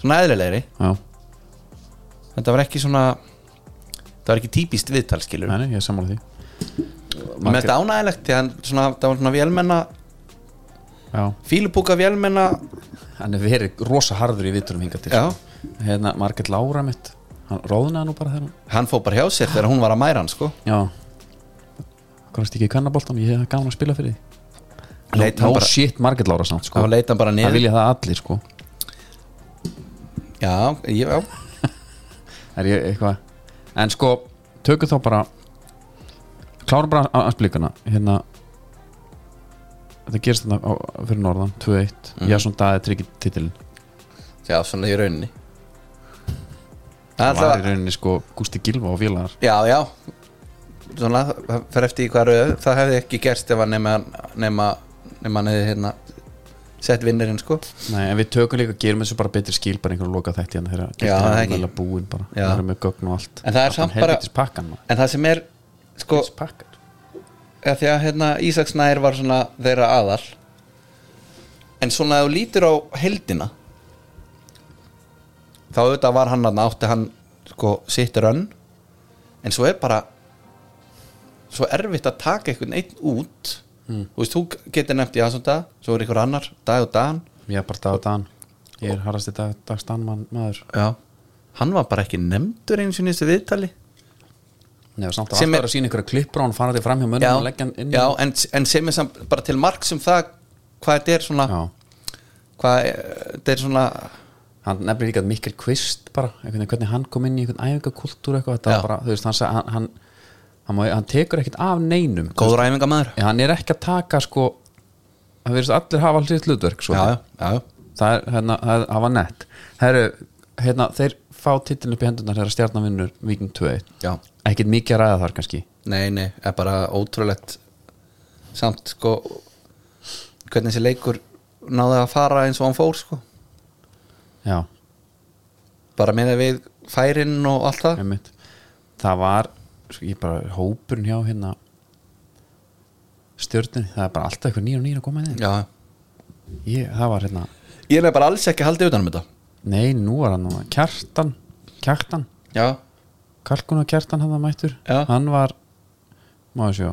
[SPEAKER 2] svona eðlilegri
[SPEAKER 1] já,
[SPEAKER 2] þetta var ekki svona það var ekki típist viðtal skilur
[SPEAKER 1] Nei, nei, ég er sammála því
[SPEAKER 2] með þetta ánægilegt því hann svona, það var svona vélmenna
[SPEAKER 1] já.
[SPEAKER 2] fílupúka vélmenna
[SPEAKER 1] hann er verið rosa harður í vitturum hingað til
[SPEAKER 2] Já.
[SPEAKER 1] hérna Margit Lára mitt hann róðnaði nú bara þegar hann
[SPEAKER 2] hann fór bara hjá sér þegar hún var að mæra hann sko
[SPEAKER 1] já komst ekki í kannaboltan, ég hef gaman að spila fyrir því
[SPEAKER 2] Leit
[SPEAKER 1] no,
[SPEAKER 2] hann
[SPEAKER 1] no
[SPEAKER 2] bara-
[SPEAKER 1] shit Margit Lára samt sko
[SPEAKER 2] þá leita hann bara
[SPEAKER 1] það
[SPEAKER 2] niður
[SPEAKER 1] vilja það allir sko
[SPEAKER 2] já, ég, já,
[SPEAKER 1] er ég eitthvað en sko, tökum þá bara klárum bara að blíkana hérna þetta gerist þarna á- fyrir norðan 2-1,
[SPEAKER 2] Mhm.
[SPEAKER 1] mm. Jason Daði tryggir titilin
[SPEAKER 2] já, svona í rauninni
[SPEAKER 1] það var í
[SPEAKER 2] Alltaf,
[SPEAKER 1] rauninni sko Gústi Gilva og Vélagar
[SPEAKER 2] já, já svona, það fer eftir í hvað rauð það hefði ekki gerst ef hann nema nema, nema hann hefði hérna sett vinnirinn sko
[SPEAKER 1] Nei, en við tökum líka, gerum þessu bara betri skil bara einhverjum loka þætti hérna þegar
[SPEAKER 2] Já, það ekki.
[SPEAKER 1] vel að búin bara,
[SPEAKER 2] Já.
[SPEAKER 1] það er með gögn og allt
[SPEAKER 2] En það er samt bara-
[SPEAKER 1] helvitis pakkan maður
[SPEAKER 2] en það sem er sko,
[SPEAKER 1] Helvitis pakkan
[SPEAKER 2] að því að hérna Ísaks Nær var svona þeirra aðal en svona að þú lítur á heldina þá auðvitað var hann að átti hann sko sitt rönn en svo er bara svo erfitt að taka einhvern einn út
[SPEAKER 1] Mm.
[SPEAKER 2] þú veist, þú getur nefnt í aðsum dag svo er einhver annar, dag og dagan
[SPEAKER 1] Ég er bara dag og dagan, ég er harrasti dag, dagstann mann maður
[SPEAKER 2] Já. hann var bara ekki nefndur eins og nýstu viðtali
[SPEAKER 1] Nei, og samt að
[SPEAKER 2] Sem
[SPEAKER 1] alltaf
[SPEAKER 2] er-
[SPEAKER 1] er að sína einhverja klippur á hann fara þig fram hjá mönnum
[SPEAKER 2] já,
[SPEAKER 1] og leggja hann inn í-
[SPEAKER 2] já en, en sem er samt bara til mark sem það hvað þetta er svona
[SPEAKER 1] já.
[SPEAKER 2] hvað eh, þetta er svona
[SPEAKER 1] hann nefnir líka Mikkel Kvist bara, einhvern veginn hvernig hann kom inn í einhvern æfingakultúr eitthvað, þetta
[SPEAKER 2] Já.
[SPEAKER 1] var bara, þú veist, hann sagði hann, hann, hann, má- hann tekur ekkert af neinum
[SPEAKER 2] góður æfingamæður
[SPEAKER 1] en hann er ekki að taka sko það verðist allir hafa allir hlutverk svo.
[SPEAKER 2] já, já,
[SPEAKER 1] það er, hérna, það er- það var nett Heru, hérna, þeir fá titilin upp í hendunar þegar stjarnavinnur Viking 2
[SPEAKER 2] já
[SPEAKER 1] ekkert mikið að ræða þar kannski
[SPEAKER 2] nei, nei, er bara ótrúlegt samt sko hvernig þessi leikur náði að fara eins og hann fór sko
[SPEAKER 1] já,
[SPEAKER 2] bara meða við færin og allt það
[SPEAKER 1] einmitt það var, sko, ég bara hópurinn hjá hérna stjörnir, það er bara alltaf eitthvað nýr og nýr að koma inn
[SPEAKER 2] já,
[SPEAKER 1] ég, það var hérna
[SPEAKER 2] ég er bara alls ekki haldið utanum þetta
[SPEAKER 1] Nei, nú var hann núna Kjartan, Kjartan
[SPEAKER 2] já,
[SPEAKER 1] Kalkun og Kjartan hann það mættur
[SPEAKER 2] Já.
[SPEAKER 1] Hann var, má ég sjá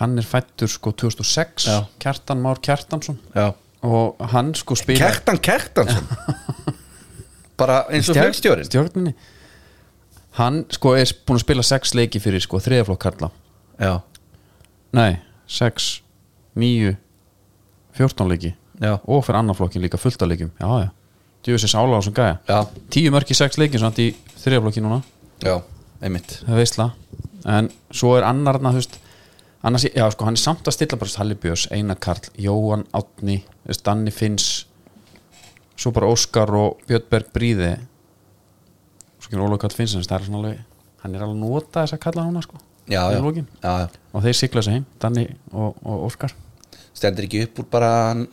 [SPEAKER 1] hann er fættur sko 2006
[SPEAKER 2] Já.
[SPEAKER 1] Kjartan Már Kjartansson
[SPEAKER 2] Já.
[SPEAKER 1] og hann sko spila
[SPEAKER 2] Kertan Kertansson bara eins og flugstjórin
[SPEAKER 1] stjórninni hann sko er búin að spila sex leiki fyrir sko þriðaflokk Karla
[SPEAKER 2] já,
[SPEAKER 1] nei, sex, níu 14 leiki
[SPEAKER 2] já,
[SPEAKER 1] og fyrir annan flokkin líka fullt af leikum já, já, djöfis er sála á sem gæja
[SPEAKER 2] já,
[SPEAKER 1] tíu mörki sex leikin samt í þriðaflokki núna
[SPEAKER 2] já einmitt,
[SPEAKER 1] það er veistla en svo er annar þarna, þú veist annars, já sko, hann er samt að stilla bara þú veist, Halli Björns, Einar Karl, Jóhann Átni þú veist, Danni Finns svo bara Óskar og Björnberg Bríði svo kemur Ólaug Karl Finns það er svona alveg, hann er alveg að nota þess að kalla núna sko
[SPEAKER 2] já, já,
[SPEAKER 1] í lokin.
[SPEAKER 2] já, já.
[SPEAKER 1] og þeir sigla þessu heim, Danni og, og Óskar
[SPEAKER 2] stendur ekki upp úr bara hann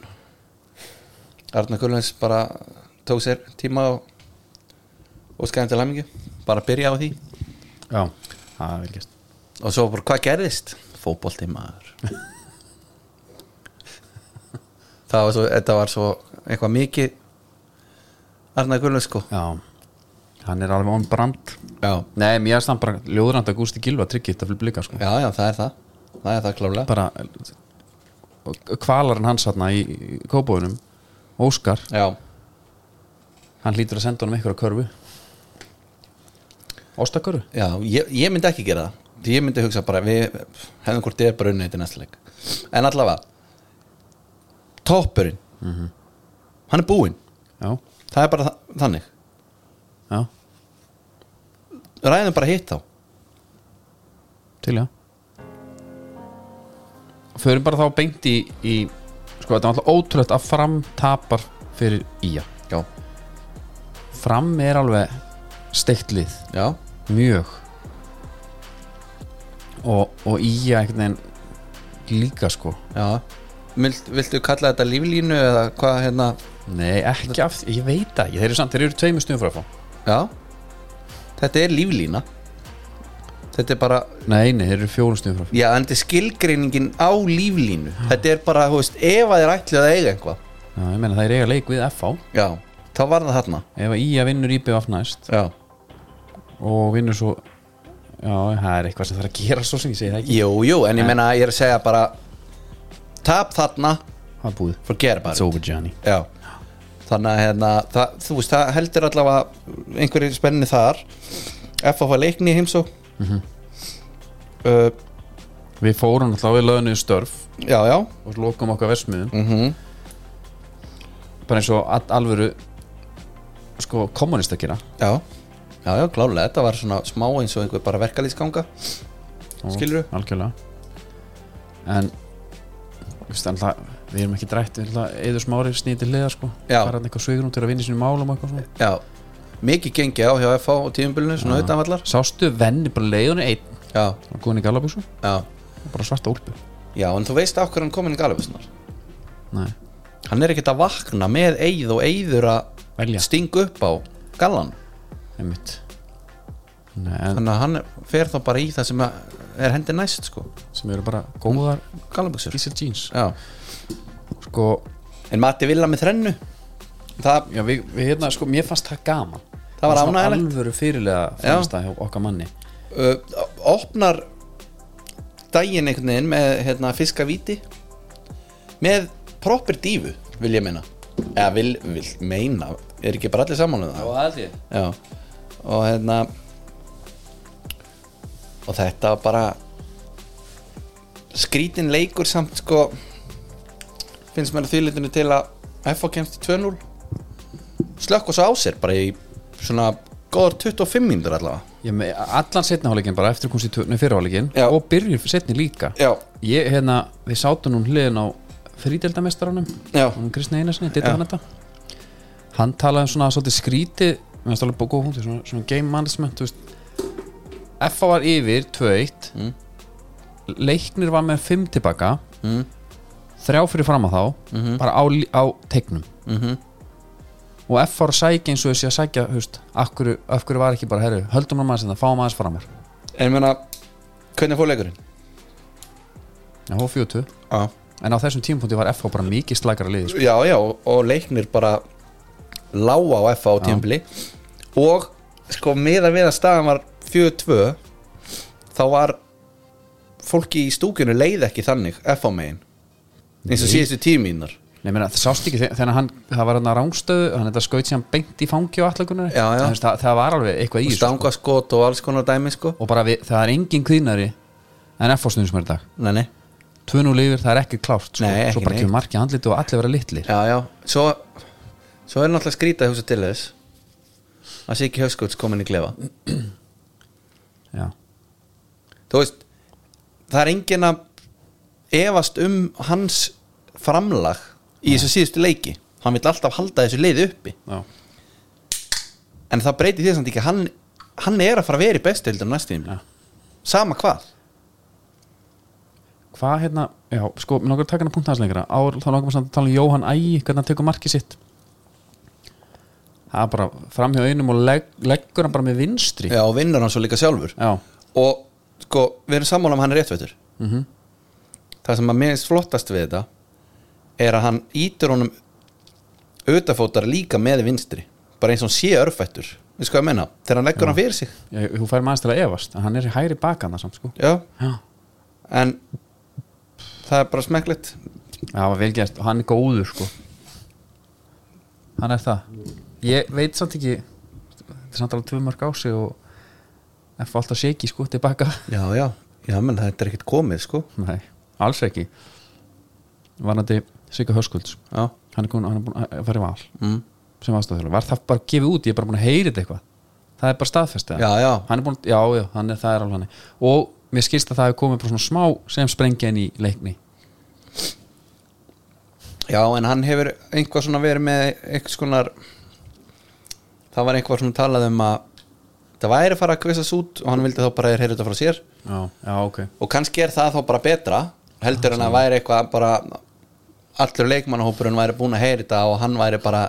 [SPEAKER 2] Arna Kullens bara tók sér tíma og, og skæðan til hæmingi bara byrja á því
[SPEAKER 1] já, það er velkist
[SPEAKER 2] og svo bara hvað gerðist fótbolti maður það var svo, þetta var svo eitthvað mikið Arna Kullens sko
[SPEAKER 1] já, hann er alveg on brand
[SPEAKER 2] já,
[SPEAKER 1] nei, mér er samt bara ljóðrand að Gústi Gilva tryggir þetta fyrir blika sko
[SPEAKER 2] já, já, það er það það er það klálega
[SPEAKER 1] bara kvalarinn hans hérna í í kópóðunum Óskar,
[SPEAKER 2] já,
[SPEAKER 1] hann hlýtur að senda honum einhverja körfu Óstakörfu?
[SPEAKER 2] já, ég, ég myndi ekki gera það því ég myndi hugsa bara við hefðum hvort ég er bara unnið til næsta leik en allavega toppurinn hann er búinn,
[SPEAKER 1] Já,
[SPEAKER 2] það er bara þa þannig
[SPEAKER 1] já,
[SPEAKER 2] ræðum bara hitt þá
[SPEAKER 1] til já Förum bara þá beint í, í sko þetta er alltaf ótrúlegt að fram tapar fyrir ía
[SPEAKER 2] já,
[SPEAKER 1] Fram er alveg steiktlið,
[SPEAKER 2] já,
[SPEAKER 1] mjög og, og ía einhvern veginn líka sko
[SPEAKER 2] já Vilt, viltu kalla þetta líflínu eða hvað hérna
[SPEAKER 1] Nei, ekki af því, ég veit það ekki Þeir eru samt, þeir eru tveimur stundum frá að fá
[SPEAKER 2] já, þetta er líflína þetta er bara
[SPEAKER 1] Nei, nei, þeir eru fjórum stundum frá
[SPEAKER 2] já, en þetta er skilgreiningin á líflínu þetta er bara, þú veist, ef að þér ætli að eiga eitthvað
[SPEAKER 1] Já, ég meina það er eiga leik við FH
[SPEAKER 2] já, þá var það þarna
[SPEAKER 1] Ef að Ía vinnur IBF næst
[SPEAKER 2] já
[SPEAKER 1] og vinnur svo Já, það er eitthvað sem þarf að gera svo sem ég segi það ekki
[SPEAKER 2] Jú, jú, en ég meina ég er að segja bara tap þarna,
[SPEAKER 1] Það er búið
[SPEAKER 2] forget about
[SPEAKER 1] It's over Johnny
[SPEAKER 2] it Já, þannig að hérna, það, þú veist, það heldur allavega einhverju spenni þar FF leikni í heimsó uh,
[SPEAKER 1] Við fórum alltaf við lögnuðu störf
[SPEAKER 2] Já, já,
[SPEAKER 1] og lokum okkar versmiðum
[SPEAKER 2] mm
[SPEAKER 1] bara eins og all, alvöru sko kommunist að gera
[SPEAKER 2] já Já, já, klálega, þetta var svona smá eins og einhver bara verkalýsganga
[SPEAKER 1] Og
[SPEAKER 2] Skilurðu?
[SPEAKER 1] Algjörlega En þú veist, en það- Við erum ekki drætt eður smári snýti hliða sko
[SPEAKER 2] Já.
[SPEAKER 1] Það er eitthvað sveigrum til að vinna í sínum málum og eitthvað svona
[SPEAKER 2] Já, mikið gengi á hjá FF og tímubilinu, svona auðvitaðvallar
[SPEAKER 1] Sástu venni bara leiðunni einn
[SPEAKER 2] Já,
[SPEAKER 1] og góðin í galabúsum
[SPEAKER 2] já,
[SPEAKER 1] og bara svarta úlpu
[SPEAKER 2] já, en þú veist af hverju hann komin í galabusnar
[SPEAKER 1] Nei,
[SPEAKER 2] Hann er ekkert að vakna með eigð og eigður að
[SPEAKER 1] velja
[SPEAKER 2] stinga upp á gallan
[SPEAKER 1] einmitt Nei, en
[SPEAKER 2] þannig að hann fer þá bara í það sem að er hendi næst sko
[SPEAKER 1] sem eru bara góðar
[SPEAKER 2] gallabuxur
[SPEAKER 1] diesel jeans
[SPEAKER 2] já.
[SPEAKER 1] sko,
[SPEAKER 2] en Matti Villa með þrennu það,
[SPEAKER 1] já, við, við hérna, sko, mér fannst það gaman
[SPEAKER 2] Það var
[SPEAKER 1] svona
[SPEAKER 2] ánægjulegt.
[SPEAKER 1] alvöru fyrirlega fannst það hjá okkar manni
[SPEAKER 2] uh, opnar daginn einhvern veginn með hérna, fiskavíti með proper dífu vil ég meina eða vil, vil meina, er ekki bara allir saman um það
[SPEAKER 1] held ég
[SPEAKER 2] Já Og hérna Og þetta var bara Skrítin leikur samt sko Finnst mér að þýlitinu til að FH kemst í 2-0 Slökk og svo á sér bara í svona Góðar 25 mínútur allavega
[SPEAKER 1] Ég með allan setni hálfleikin bara eftir komst í törnu fyrirháleikin
[SPEAKER 2] Já.
[SPEAKER 1] og byrjur setni líka
[SPEAKER 2] Já,
[SPEAKER 1] ég, hérna, við sátum nú hliðin á frídeldamestaranum
[SPEAKER 2] já,
[SPEAKER 1] hann Kristni Einarssoni, dittafanetta hann talaði um svona svolítið skrítið mér finnst alveg búið góð punktur, svona, svona game management þú veist. FA var yfir 2-1
[SPEAKER 2] Mm.
[SPEAKER 1] leiknir var með 5 tilbaka
[SPEAKER 2] Mm.
[SPEAKER 1] þrjá fyrir fram að þá bara á, lí- á teiknum
[SPEAKER 2] Mhm.
[SPEAKER 1] og FA var að sækja eins og þessi að sækja þú veist, af hverju, af hverju var ekki bara herru, höldum hann maður sem það, fáum aðeins framar
[SPEAKER 2] en ég meina Hvernig fór leikurinn?
[SPEAKER 1] en hóf 4-2
[SPEAKER 2] Já,
[SPEAKER 1] en á þessum tímapunkti var FA bara mikið slækara liði sko.
[SPEAKER 2] já, já og, og leiknir bara Láa á FH á tímbli Og sko meða við að staðan var 4-2 Þá var fólki í stúkinu leið ekki þannig F á megin eins og síðustu tímínar
[SPEAKER 1] Nei, meina, það sást ekki, þe- þegar hann, það var hann að rángstöðu hann þetta skaut sem beint í fangi og allakunar
[SPEAKER 2] Já, já.
[SPEAKER 1] Það, það var alveg eitthvað í
[SPEAKER 2] og
[SPEAKER 1] þessu, sko.
[SPEAKER 2] stangaskot og alls konar dæmi sko
[SPEAKER 1] og bara við, það er engin kvíðnari en F ástuðum sem er í dag
[SPEAKER 2] nei, nei.
[SPEAKER 1] 2-0 yfir, það er ekki klárt sko.
[SPEAKER 2] Nei,
[SPEAKER 1] svo
[SPEAKER 2] ekki
[SPEAKER 1] bara
[SPEAKER 2] neitt.
[SPEAKER 1] kemur markið handliti og allir vera litlir
[SPEAKER 2] já, já, svo svo er náttúrulega skrítið að hugsa til þess að Siki Hjöskuts komin í klefa
[SPEAKER 1] já.
[SPEAKER 2] þú veist, það er engin að efast um hans framlag í þessu síðustu leiki hann vill alltaf halda þessu leið uppi
[SPEAKER 1] Já.
[SPEAKER 2] en það breytir því samt ekki að hann, hann er að fara að vera í bestu heldur næstu tíma
[SPEAKER 1] Já.
[SPEAKER 2] sama hvað
[SPEAKER 1] hvað hérna, já, sko, mér langar að taka hann að punkta hans lengra Ár, þá langar maður samt að tala um Jóhann Ægi hvernig hann tekur markið sitt það er bara framhjá einum og legg, leggur hann bara með vinstri
[SPEAKER 2] Já, og vinnur hann svo líka sjálfur
[SPEAKER 1] já,
[SPEAKER 2] og sko, við erum sammála um að hann er réttvættur það sem að mér finnst flottast við þetta er að hann ítur honum auðafótar líka með vinstri bara eins og hann sé örfættur við sko að menna, þegar hann leggur hann fyrir sig
[SPEAKER 1] ég, þú fær maður til að efast en hann er í hægri bakana samt, sko
[SPEAKER 2] já,
[SPEAKER 1] já,
[SPEAKER 2] en það er bara smekklegt
[SPEAKER 1] það var velgjast og hann er góður, sko hann er það ég veit samt ekki þetta er samt alveg tvö mörg á sig og F alltaf séki, sko, tilbaka
[SPEAKER 2] já, já, já, menn þetta er ekkert komið sko
[SPEAKER 1] nei, alls ekki varandi Sigga Höskulds
[SPEAKER 2] já,
[SPEAKER 1] hann er, komin, hann er búin að fara í val
[SPEAKER 2] mm.
[SPEAKER 1] sem aðstofþjóðlega, var það bara gefið út ég er bara búin að heyri þetta eitthvað það er bara staðfestið
[SPEAKER 2] já, já,
[SPEAKER 1] hann er búin, já, já, hann er, það er alveg hann og mér skilst að það hefur komið bara svona smá sem sprengja inn í leikni
[SPEAKER 2] já, en hann hefur einhvað svona verið með einhvers konar það var einhvað svona talað um að það væri að fara að kvissast út og hann vildi þá bara heyra þetta frá sér
[SPEAKER 1] já, já, ok
[SPEAKER 2] og kannski er það þá bara betra heldur en að væri eitthvað bara allur leikmannahópurinn væri búin að heyri þetta og hann væri bara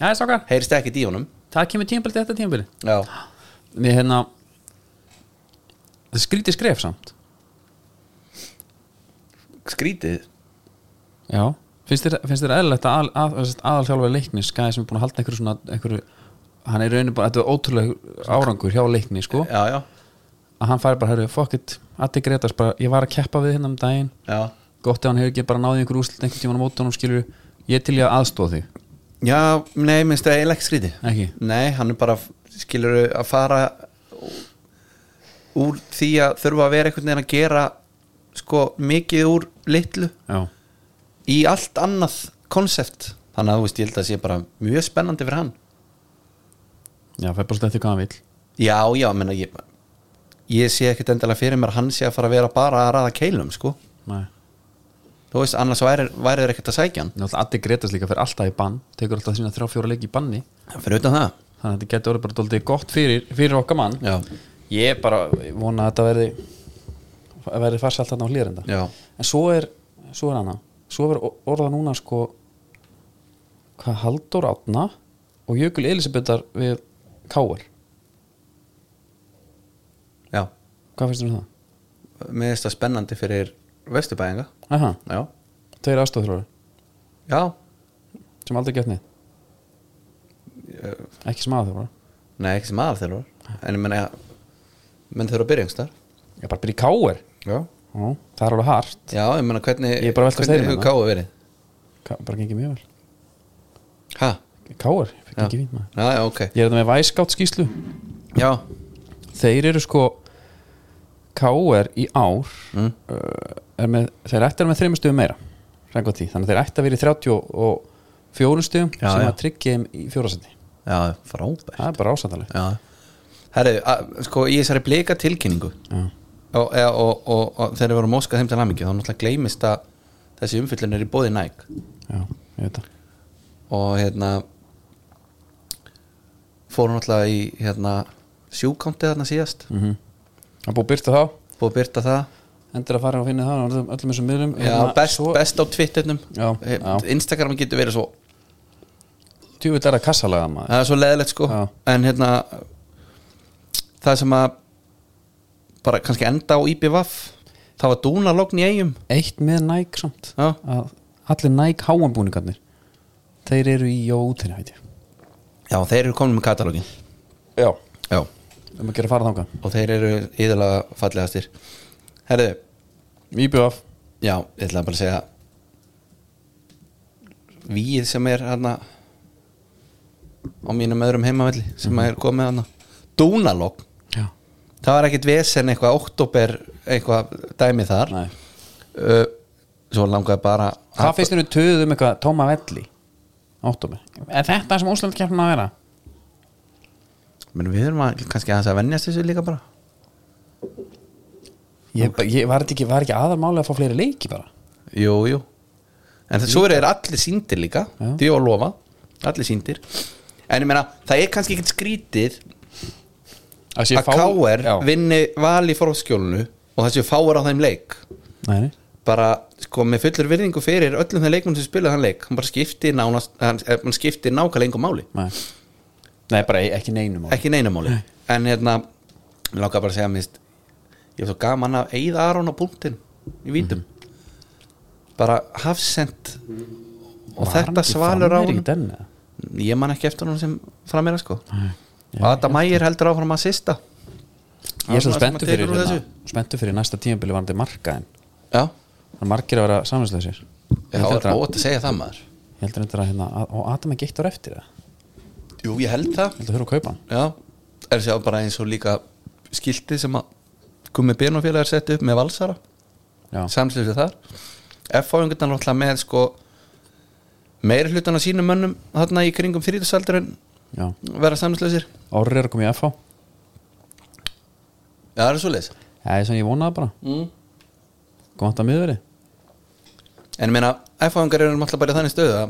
[SPEAKER 1] já, stokkar,
[SPEAKER 2] heyrist ekkert í honum
[SPEAKER 1] það kemur tímabilið þetta tímabilið
[SPEAKER 2] já,
[SPEAKER 1] mér hérna það er skrítið skref samt
[SPEAKER 2] skrítið
[SPEAKER 1] já, finnst þér, finnst þér eðlilegt að, að, að, aðalþjálfari leiknis gæði sem er búin að halda einhverju svona einhverju, hann er í rauninu bara, þetta er ótrúlega árangur hjá leikni, sko
[SPEAKER 2] já, já,
[SPEAKER 1] að hann fær bara, herru, fuck it, Addi Gretars bara, ég var að keppa við hérna um daginn
[SPEAKER 2] já
[SPEAKER 1] gott ef hann hefur ekki bara náðið einhver úrslit einhvern tímann á mótunum skilur ég til ég að aðstóða þig
[SPEAKER 2] já, nei, minnst það eiginlega ekki skrítið
[SPEAKER 1] ekki,
[SPEAKER 2] Nei, hann er bara, skilur að fara úr því að þurfa að vera einhvern veginn að gera sko mikið úr litlu
[SPEAKER 1] já,
[SPEAKER 2] í allt annað konsept þannig að þú veist, ég held að það sé bara mjög spennandi fyrir hann
[SPEAKER 1] já, fær bara slett eftir hvað hann vill
[SPEAKER 2] Já, já, menna ég ég sé ekkert endilega fyrir mér að hann sé að fara að vera bara að ræða keilum, sko
[SPEAKER 1] Nei.
[SPEAKER 2] þú veist, annars væri, væri þeir ekkert að sækja hann
[SPEAKER 1] Náttúrulega Addi Gretars líka fyrir alltaf í bann tekur alltaf sína þrjá fjóra leiki í banni
[SPEAKER 2] fyrir utan það
[SPEAKER 1] þannig að þetta getur orðið bara doldið gott fyrir, fyrir okkar mann
[SPEAKER 2] Já,
[SPEAKER 1] ég bara vona að þetta verði verði farsalt þarna á hlýrenda
[SPEAKER 2] já,
[SPEAKER 1] en svo er, svo er hana svo er orða núna sko hvað Haldur Átna og Jökul Elisabetar við Káar
[SPEAKER 2] já.
[SPEAKER 1] hvað finnst þú um það?
[SPEAKER 2] mér finnst það spennandi fyrir vesturbæðinga
[SPEAKER 1] Aha,
[SPEAKER 2] Já,
[SPEAKER 1] tveir aðstofþjórar
[SPEAKER 2] já,
[SPEAKER 1] sem aldrei gett neitt ekki sem aðeins
[SPEAKER 2] nei, ekki sem aðal þeirra en ég menna, menn þurfa að byrja einhvers þar
[SPEAKER 1] ég er bara að byrja í káir
[SPEAKER 2] Já,
[SPEAKER 1] það er alveg hart,
[SPEAKER 2] já, ég menna, hvernig
[SPEAKER 1] Ég er bara að velta
[SPEAKER 2] hvernig
[SPEAKER 1] steinum
[SPEAKER 2] hefur
[SPEAKER 1] hérna.
[SPEAKER 2] káu verið?
[SPEAKER 1] Ká- bara gengið mjög vel
[SPEAKER 2] Ha,
[SPEAKER 1] káir,
[SPEAKER 2] Já.
[SPEAKER 1] gengið fínt maður
[SPEAKER 2] já, já, ok
[SPEAKER 1] ég er þetta með væskátt skýslu
[SPEAKER 2] Já,
[SPEAKER 1] þeir eru sko káir í ár
[SPEAKER 2] Mm.
[SPEAKER 1] uh, er með, þeir ættu að vera með þreymur stöðum meira samkvæmt því. þannig að þeir ættu að vera í 34 stöðum
[SPEAKER 2] Já,
[SPEAKER 1] sem
[SPEAKER 2] já.
[SPEAKER 1] að tryggja þeim í fjórasætti
[SPEAKER 2] já, frábært
[SPEAKER 1] það er bara ásættalegt
[SPEAKER 2] Já Herri, að- sko, í þessari bleika tilkynningu
[SPEAKER 1] Já.
[SPEAKER 2] og, eða, og, og, og þegar við vorum óskað þeim til hamingju þá náttúrulega gleymist að þessi umfyllun er í bóði næg
[SPEAKER 1] já, ég veit það
[SPEAKER 2] og hérna fórum náttúrulega í hérna sjúkanti þarna síðast
[SPEAKER 1] mm -hmm. það er búið að byrta þá
[SPEAKER 2] búið að byrta það
[SPEAKER 1] endur að fara og finna það á öllum- öllum þessum miðlum
[SPEAKER 2] já,
[SPEAKER 1] Hérna,
[SPEAKER 2] best,
[SPEAKER 1] svo-
[SPEAKER 2] best á Twitternum
[SPEAKER 1] Já,
[SPEAKER 2] Eh,
[SPEAKER 1] já.
[SPEAKER 2] Instagram getur verið svo
[SPEAKER 1] Tjúvill er það kassalaga maður
[SPEAKER 2] það er svo leðilegt sko
[SPEAKER 1] Já.
[SPEAKER 2] en hérna það sem að bara kannski enda á IPVAF það var dúnalogn í eigum
[SPEAKER 1] Eitt með Nike samt
[SPEAKER 2] já
[SPEAKER 1] að Allir Nike háanbúningarnir Þeir eru í jótinu veit ég
[SPEAKER 2] Já, þeir eru komin með katalógin
[SPEAKER 1] Já
[SPEAKER 2] Já
[SPEAKER 1] Um að gera fara þangað
[SPEAKER 2] Og þeir eru yðurlega fallegastir Herðu,
[SPEAKER 1] IBF
[SPEAKER 2] Já, ég ætla bara að segja Víð sem er hérna á mínum öðrum heimavelli sem er komið hérna Dúnalogn,
[SPEAKER 1] Já,
[SPEAKER 2] það var ekkit vesen eitthvað oktober, eitthvað dæmi þar
[SPEAKER 1] nei
[SPEAKER 2] uh, Svo langaði bara
[SPEAKER 1] Hvað finnst þér við töðuð um eitthvað tóma velli? Óttum Er þetta sem Úsland kemur að vera?
[SPEAKER 2] Men við erum að, kannski aðeins að venjast þessu líka bara
[SPEAKER 1] Ég, ég var, þetta ekki, var ekki aðalmáli að fá fleiri leiki bara
[SPEAKER 2] Jú, jú En það, svo eru þeir allir síndir líka
[SPEAKER 1] Já.
[SPEAKER 2] Því að lofa, allir síndir En ég meina, það er kannski ekkert skrítið
[SPEAKER 1] Að
[SPEAKER 2] að KR vinni val í fórskjólunu og það séu fáir á þeim leik
[SPEAKER 1] Nei,
[SPEAKER 2] bara sko með fullur virðingu fyrir öllum þeim leikmum sem spilaði hann leik hann bara skipti, nánast, hann, eh, hann skipti nákvæmlega engum máli
[SPEAKER 1] nei Nei, bara ekki neinum
[SPEAKER 2] ekki neinamáli Nei. en hérna, ég langar bara að segja mist, ég hef svo gaman af Eða Aron á punktin í vítum bara hafsend og þetta svalur á
[SPEAKER 1] hann
[SPEAKER 2] hann ég man ekki eftir hann sem frammeira sko og þetta mægir heldur áfram að sista
[SPEAKER 1] Ég er svo
[SPEAKER 2] Arnar sem
[SPEAKER 1] spenntu
[SPEAKER 2] að tekur
[SPEAKER 1] fyrir,
[SPEAKER 2] úr
[SPEAKER 1] hérna,
[SPEAKER 2] þessu.
[SPEAKER 1] spenntu fyrir næsta tímabili varandi markaðin
[SPEAKER 2] já,
[SPEAKER 1] Það er margir að vera samvinsleisir Ég
[SPEAKER 2] það
[SPEAKER 1] held
[SPEAKER 2] er
[SPEAKER 1] reyndar að-
[SPEAKER 2] ótt að segja það maður
[SPEAKER 1] ég held reyndar að hérna að- Og Adam er geitt ára eftir það Ég
[SPEAKER 2] jú, ég held það
[SPEAKER 1] held að þurfa að kaupa hann
[SPEAKER 2] Já, er sjá bara eins og líka skilti sem að Gummi Björnfélagar setti upp með Valsara
[SPEAKER 1] Já,
[SPEAKER 2] samslutu þar F-fáingarnar náttúrulega með sko meiri hlutan á sínum mönnum þarna í kringum þrítusaldurinn
[SPEAKER 1] já
[SPEAKER 2] vera samslusir
[SPEAKER 1] Orri er að koma í FH
[SPEAKER 2] Já, það er svo leis
[SPEAKER 1] Það er svona ég vonaði bara
[SPEAKER 2] mm.
[SPEAKER 1] Góðan að miðveri
[SPEAKER 2] En ég meina, F-fáingar eru náttúrulega bara í þannig stöðu að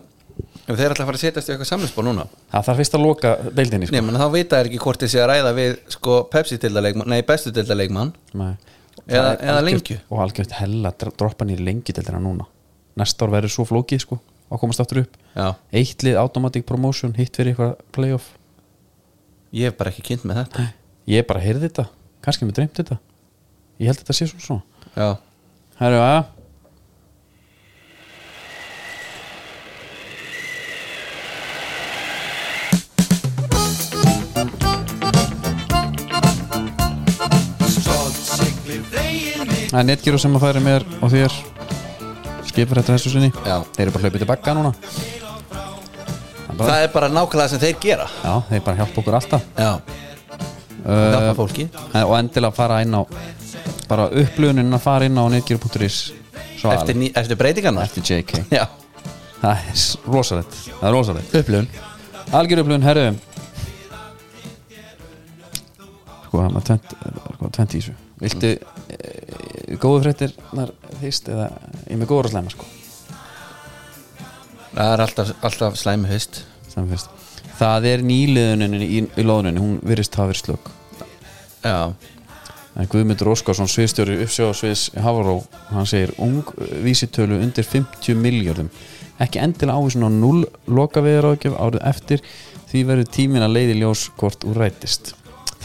[SPEAKER 2] ef þeir ætla að fara að setjast í eitthvað samlisbór núna
[SPEAKER 1] Það þarf fyrst að loka deildinni
[SPEAKER 2] Nei,
[SPEAKER 1] sko.
[SPEAKER 2] menn þá vita þær ekki hvort þið sé að ræða við sko Pepsi-dildarleikmann, nei, bestu-dildarleikmann
[SPEAKER 1] Nei.
[SPEAKER 2] Eða-
[SPEAKER 1] Það er
[SPEAKER 2] eða
[SPEAKER 1] algjört-
[SPEAKER 2] lengju.
[SPEAKER 1] Og algjört hella dr- droppa nýri lengju deildina núna Næsta ár verður svo flókið sko Að komast aftur upp
[SPEAKER 2] Já,
[SPEAKER 1] Eitt lið automatic promotion Hitt fyrir eitthvað playoff
[SPEAKER 2] ég hef bara ekki kynnt með þetta
[SPEAKER 1] Ég bara heyrði þetta Kannski mér dreymt þetta Ég held að þetta sé svo svona
[SPEAKER 2] Já,
[SPEAKER 1] Herru að Það er netgíru sem að færi mér og þér skipur þetta þessu sinni
[SPEAKER 2] Já.
[SPEAKER 1] Þeir eru bara hlaupið til bakka núna
[SPEAKER 2] það er bara nákvæmlega sem þeir gera
[SPEAKER 1] Já, þeir bara hjálpa okkur alltaf
[SPEAKER 2] Já,
[SPEAKER 1] uh,
[SPEAKER 2] hjálpa fólki
[SPEAKER 1] Og endilega fara inn á bara upplöfunin að fara inn á netgíru.is Svo
[SPEAKER 2] eftir, ný- eftir breytingarnar
[SPEAKER 1] eftir JK
[SPEAKER 2] Já,
[SPEAKER 1] Það er rosalegt Það er rosalegt
[SPEAKER 2] upplun
[SPEAKER 1] Algjörupplun, herru Sko, það er maður tvent Sko, tvent í þessu Viltu e, góðu fréttir nar, fyrst eða ég er með góður að slæma sko
[SPEAKER 2] Það er alltaf, alltaf slæmi haust
[SPEAKER 1] slæma fyrst Það er nýliðunin í, í loðuninni hún virðist hafa verið slökk
[SPEAKER 2] Já,
[SPEAKER 1] en Guðmundur Óskarsson sviðstjóri uppsjóðasviðs Havaró hann segir ung vísitölu undir 50 miljardum ekki endilega ávísun á 0 lokaviðaráðgjöf árið eftir því verður tímin að leiði ljós hvort úr rætist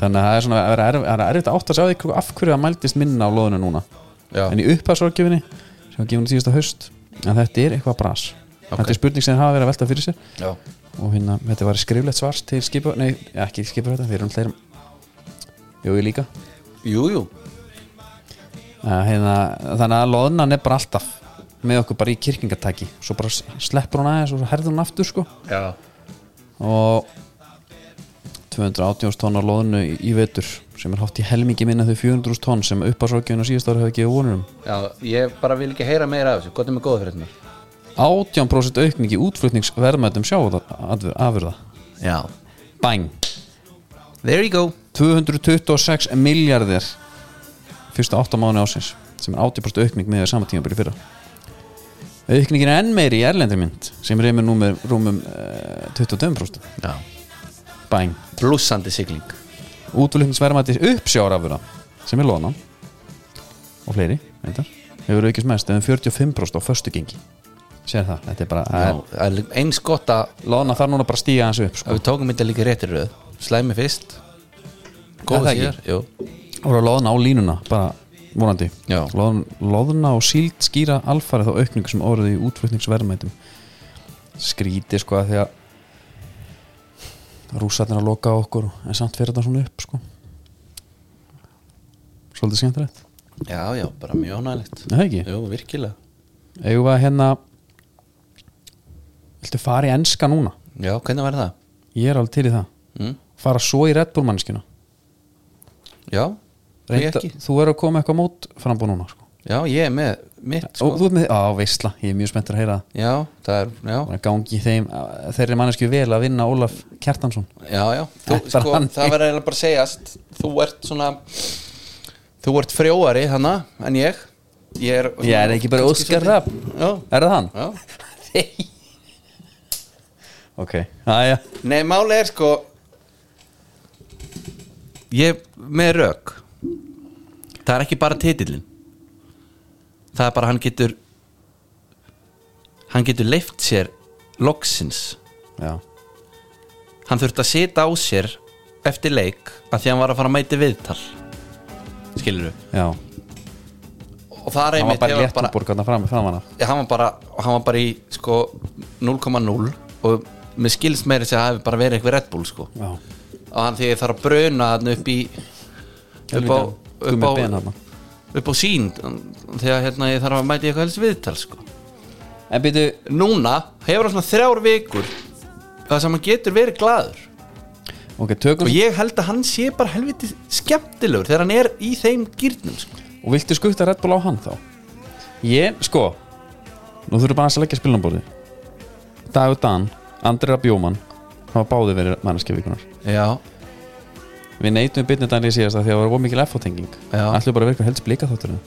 [SPEAKER 1] þannig að það er svona það er erf- það er erfitt að átta sig á því hvað- af hverju það mæltist minna á loðinu núna
[SPEAKER 2] já,
[SPEAKER 1] en í upphæðsráðgjöfinni sem var gefinu síðasta haust en þetta er eitthvað bras
[SPEAKER 2] Ok.
[SPEAKER 1] þetta er spurning sem þeir hafa verið að velta fyrir sér
[SPEAKER 2] já.
[SPEAKER 1] og hérna, þetta var skriflegt svar til skipa, nei, ekki skipa þetta, þeir eru um þeir jú, ég líka
[SPEAKER 2] Jú, jú,
[SPEAKER 1] að, hérna, þannig að loðnan er bara alltaf með okkur bara í kirkingatæki svo bara s- sleppur hún aðeins og svo herður hún aftur sko.
[SPEAKER 2] já.
[SPEAKER 1] og 280 tónn á loðnu í, í vetur sem er hátt í helmingi minna þau 400 tónn sem uppásorgjun og síðast ára hefur gefið um. vonurum
[SPEAKER 2] já Ég bara vil ekki heyra meira af þessu Hvað er með góða fyrir þetta?
[SPEAKER 1] 18% aukning í útflutningsverðmætum sjáafurða
[SPEAKER 2] Já,
[SPEAKER 1] bang
[SPEAKER 2] there you go
[SPEAKER 1] 226 miljardir fyrsta 8 mánu ásins sem er 80% aukning með sama tímabili fyrra aukningin er enn meiri í erlendri mynd sem reymir nú með rúmum uh, 22%
[SPEAKER 2] Já.
[SPEAKER 1] bæn
[SPEAKER 2] Blússandi sigling
[SPEAKER 1] útflutningsverðmætti uppsjárafura sem er loðnan og fleiri reyndar, hefur aukist mest eða um 45% á föstu gengi sér það, þetta er bara það
[SPEAKER 2] Já,
[SPEAKER 1] er,
[SPEAKER 2] það er líka- eins gott að
[SPEAKER 1] loðna þarf núna bara að stíga hans upp sko.
[SPEAKER 2] að við tókum þetta líka réttir röð Slæmi fyrst
[SPEAKER 1] Er það
[SPEAKER 2] Góða
[SPEAKER 1] ekki?
[SPEAKER 2] síðar Jú
[SPEAKER 1] voru að loðna á línuna bara vonandi
[SPEAKER 2] Já.
[SPEAKER 1] Loðn, loðna og síld skýra alfarið á aukningu sem orðið í útflutningsverðmætum skríti sko að því að rússarnir að loka á okkur en samt fyrir þetta svona upp sko svolítið skemmtilegt
[SPEAKER 2] já, já, bara mjög ánægilegt
[SPEAKER 1] Er það ekki?
[SPEAKER 2] Jú, virkilega
[SPEAKER 1] Eigum við að hérna Viltu fara í enska núna?
[SPEAKER 2] Já, hvernig verður það?
[SPEAKER 1] Ég er alveg til í það
[SPEAKER 2] Mm.
[SPEAKER 1] Fara svo í Red Bull manneskina
[SPEAKER 2] Já, ég
[SPEAKER 1] Reynda,
[SPEAKER 2] ekki
[SPEAKER 1] Þú er að koma eitthvað mót frambúð núna sko.
[SPEAKER 2] Já, ég er með mitt
[SPEAKER 1] sko.
[SPEAKER 2] sko.
[SPEAKER 1] Þú ert með, á veistla, ég er mjög spenntur að heyra það
[SPEAKER 2] Já, það er, já,
[SPEAKER 1] Bara gangi þeim, að þeirri mannesku vel að vinna Ólaf Kjartansson
[SPEAKER 2] já, já þú,
[SPEAKER 1] Þetta er
[SPEAKER 2] sko,
[SPEAKER 1] hann.
[SPEAKER 2] Það verður eiginlega bara að segjast Þú ert svona Þú ert frjóari hana en ég Ég er,
[SPEAKER 1] Ég er ekki bara
[SPEAKER 2] kannski
[SPEAKER 1] Óskar
[SPEAKER 2] svolítið- Já,
[SPEAKER 1] Er það hann?
[SPEAKER 2] já
[SPEAKER 1] Ok, aðja
[SPEAKER 2] Nei, máli er sko Ég með rauk Það er ekki bara titillin Það er bara hann getur Hann getur leift sér Loksins
[SPEAKER 1] Já,
[SPEAKER 2] Hann þurfti að sita á sér Eftir leik að því hann var að fara að mæti viðtal Skilur við
[SPEAKER 1] já
[SPEAKER 2] Og það er
[SPEAKER 1] Hann var
[SPEAKER 2] einmitt
[SPEAKER 1] bara
[SPEAKER 2] ég
[SPEAKER 1] létt úr borgarna fram, fram hana
[SPEAKER 2] Já, hann var bara, hann var bara í sko 0,0 og mér skilst meira þess að það hefði bara verið eitthvað Red Bull sko
[SPEAKER 1] Já,
[SPEAKER 2] og hann þegar þarf að bruna hann upp í upp á, upp
[SPEAKER 1] Gummi ben
[SPEAKER 2] á,
[SPEAKER 1] hana
[SPEAKER 2] upp á sín þegar hérna ég þarf að mæta í eitthvað helst viðtal sko.
[SPEAKER 1] En byrju,
[SPEAKER 2] núna hefur hann svona þrjár vikur það sem hann getur verið glaður
[SPEAKER 1] ok, tökum
[SPEAKER 2] og ég held að hann sé bara helviti skemmtilegur þegar hann er í þeim gýrnum sko.
[SPEAKER 1] Og viltu skutta Red Bull á hann þá? Ég, sko Nú þurfum bara aðeins að leggja spilnambóði Dagur Dan, Andri Rapp Jóman hafa báði verið mannskjafíkunar
[SPEAKER 2] já,
[SPEAKER 1] Við neytum byrnir Dan í síðast að því að það var ómikil F-tenging
[SPEAKER 2] Já.
[SPEAKER 1] Ætlum bara að virka helst blika þátturinn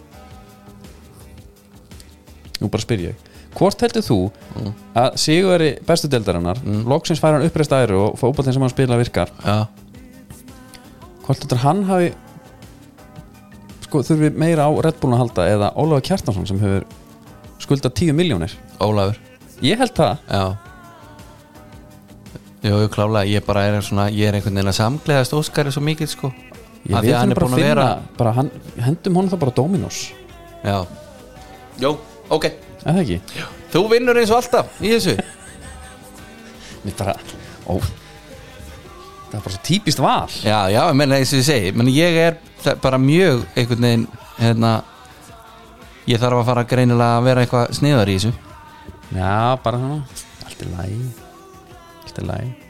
[SPEAKER 1] Nú bara spyr ég Hvort heldur þú
[SPEAKER 2] Mm.
[SPEAKER 1] að Sigurveri bestu deildarinnar loksins fær hann uppreist æru og fótballin sem hann spila virkar
[SPEAKER 2] já,
[SPEAKER 1] Hvort heldur hann hafi sko, þurfi meira á Red Bullun að halda eða Ólafur Kjartansson sem hefur skuldað 10 miljónir
[SPEAKER 2] Ólafur
[SPEAKER 1] Ég held það
[SPEAKER 2] já Jú, jú, klálega, ég bara er svona, ég er einhvern veginn að samgleðast Óskari svo mikið, sko
[SPEAKER 1] Ég
[SPEAKER 2] Af því
[SPEAKER 1] vil
[SPEAKER 2] að hann
[SPEAKER 1] hann
[SPEAKER 2] er
[SPEAKER 1] bara
[SPEAKER 2] búinn að
[SPEAKER 1] finna
[SPEAKER 2] vera
[SPEAKER 1] bara hann, Hendum honum það bara Dominos
[SPEAKER 2] Já Jó, ok,
[SPEAKER 1] Er það ekki?
[SPEAKER 2] þú vinnur eins og alltaf í þessu
[SPEAKER 1] Mér bara ó, Það er bara svo típist val
[SPEAKER 2] Já, já, ég meina eins og ég segi menn ég er þa- bara mjög einhvern veginn hérna, ég þarf að fara greinilega að vera eitthvað sniðar í þessu
[SPEAKER 1] Já, bara svona Allt er læg Allt er læg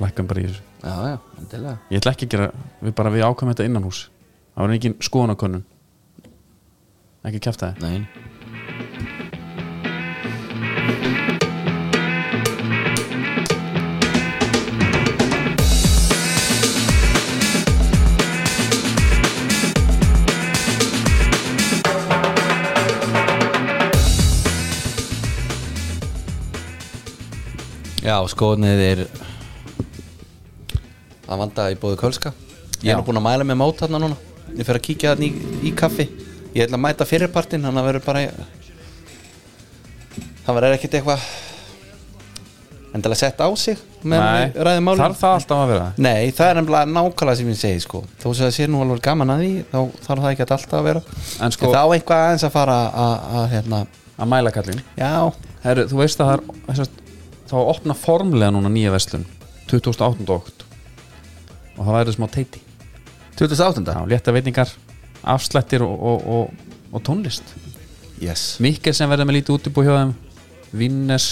[SPEAKER 1] Lækkum bara í þessu
[SPEAKER 2] Já, já, endilega
[SPEAKER 1] Ég ætla ekki að gera Við bara við ákvæmum þetta innan hús Það var engin skoðanakönnun Ekki kæfta þið
[SPEAKER 2] Nei Já, skoðnið er að vanda í bóðu kölska Ég er
[SPEAKER 1] Já.
[SPEAKER 2] nú búinn að mæla með mót hérna núna Ég fer að kíkja hérna í, í kaffi Ég ætla að mæta fyrirpartin Þannig að verður bara Það verður ekkert eitthvað Endilega sett á sig meðan við ræðum málin.
[SPEAKER 1] Þarf það alltaf að vera
[SPEAKER 2] Nei, það er nefnilega nákvæmlega sem ég segi sko. Þó sem það sé nú alveg gaman að því Þá þarf það ekki alltaf að vera
[SPEAKER 1] En sko-
[SPEAKER 2] Það á eitthvað aðeins að fara að- að hérna
[SPEAKER 1] Að mæla kallin
[SPEAKER 2] Já,
[SPEAKER 1] Herru, þú veist að það er þessast, þá opna formlega núna nýja verslun 2008 ótt og það væri smá teiti
[SPEAKER 2] 2008
[SPEAKER 1] Já, létta veitingar, afslættir og, og, og, og tónlist
[SPEAKER 2] Yes
[SPEAKER 1] Mikkel sem verður með lítið útibú hjá þeim Vinnes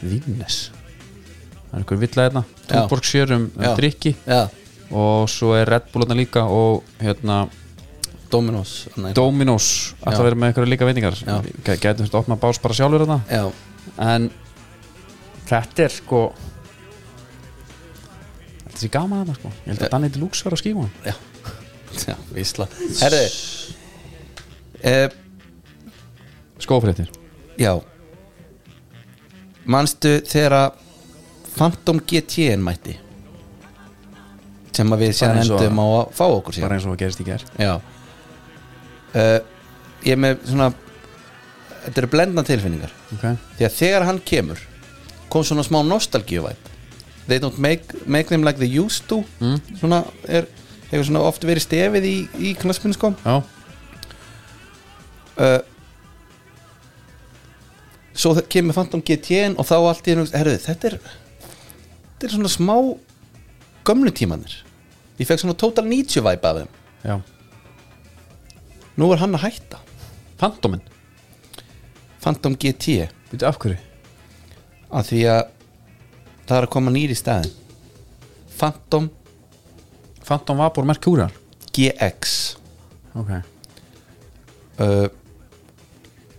[SPEAKER 1] Vinnes Það er einhver villega hérna
[SPEAKER 2] Já.
[SPEAKER 1] Túborg sér um, um
[SPEAKER 2] Já.
[SPEAKER 1] drikki
[SPEAKER 2] Já,
[SPEAKER 1] og svo er Red Bull hérna líka og hérna
[SPEAKER 2] Dominos Nei.
[SPEAKER 1] Dominos
[SPEAKER 2] Já.
[SPEAKER 1] alltaf verður með einhverja líka veitingar
[SPEAKER 2] Já.
[SPEAKER 1] Gætum þetta opna bás bara sjálfur hérna
[SPEAKER 2] Já,
[SPEAKER 1] en þetta er sko þetta sé gaman að það sko ég held að Danny Deluxe var að skíma hann
[SPEAKER 2] já Já, vísla Herðu uh,
[SPEAKER 1] skófréttir
[SPEAKER 2] Já Manstu þegar að Phantom GT en mætti sem að við séðan
[SPEAKER 1] eins og-
[SPEAKER 2] endum á að fá okkur síðan
[SPEAKER 1] bara eins og það gerist í ger
[SPEAKER 2] Já uh, Ég er með svona Þetta eru blendna tilfinningar
[SPEAKER 1] okay.
[SPEAKER 2] Því að þegar hann kemur kom svona smá nostalgíuvæp They don't make, make them like they used to
[SPEAKER 1] Mm.
[SPEAKER 2] svona er hefur svona oft verið stefið í, í knaspinu sko
[SPEAKER 1] já,
[SPEAKER 2] uh, Svo það kemur Phantom GTN og þá allt í einu, herruðu, þetta er þetta er svona smá gömlu tímanir Ég fekk svona total 90 væpa af þeim
[SPEAKER 1] já,
[SPEAKER 2] Nú er hann að hætta
[SPEAKER 1] Fantóminn,
[SPEAKER 2] Phantom GT
[SPEAKER 1] veitu af hverju
[SPEAKER 2] að því að það er að koma nýri staðin Phantom
[SPEAKER 1] Fantóm Vapor Mercurial
[SPEAKER 2] GX
[SPEAKER 1] Ok,
[SPEAKER 2] uh,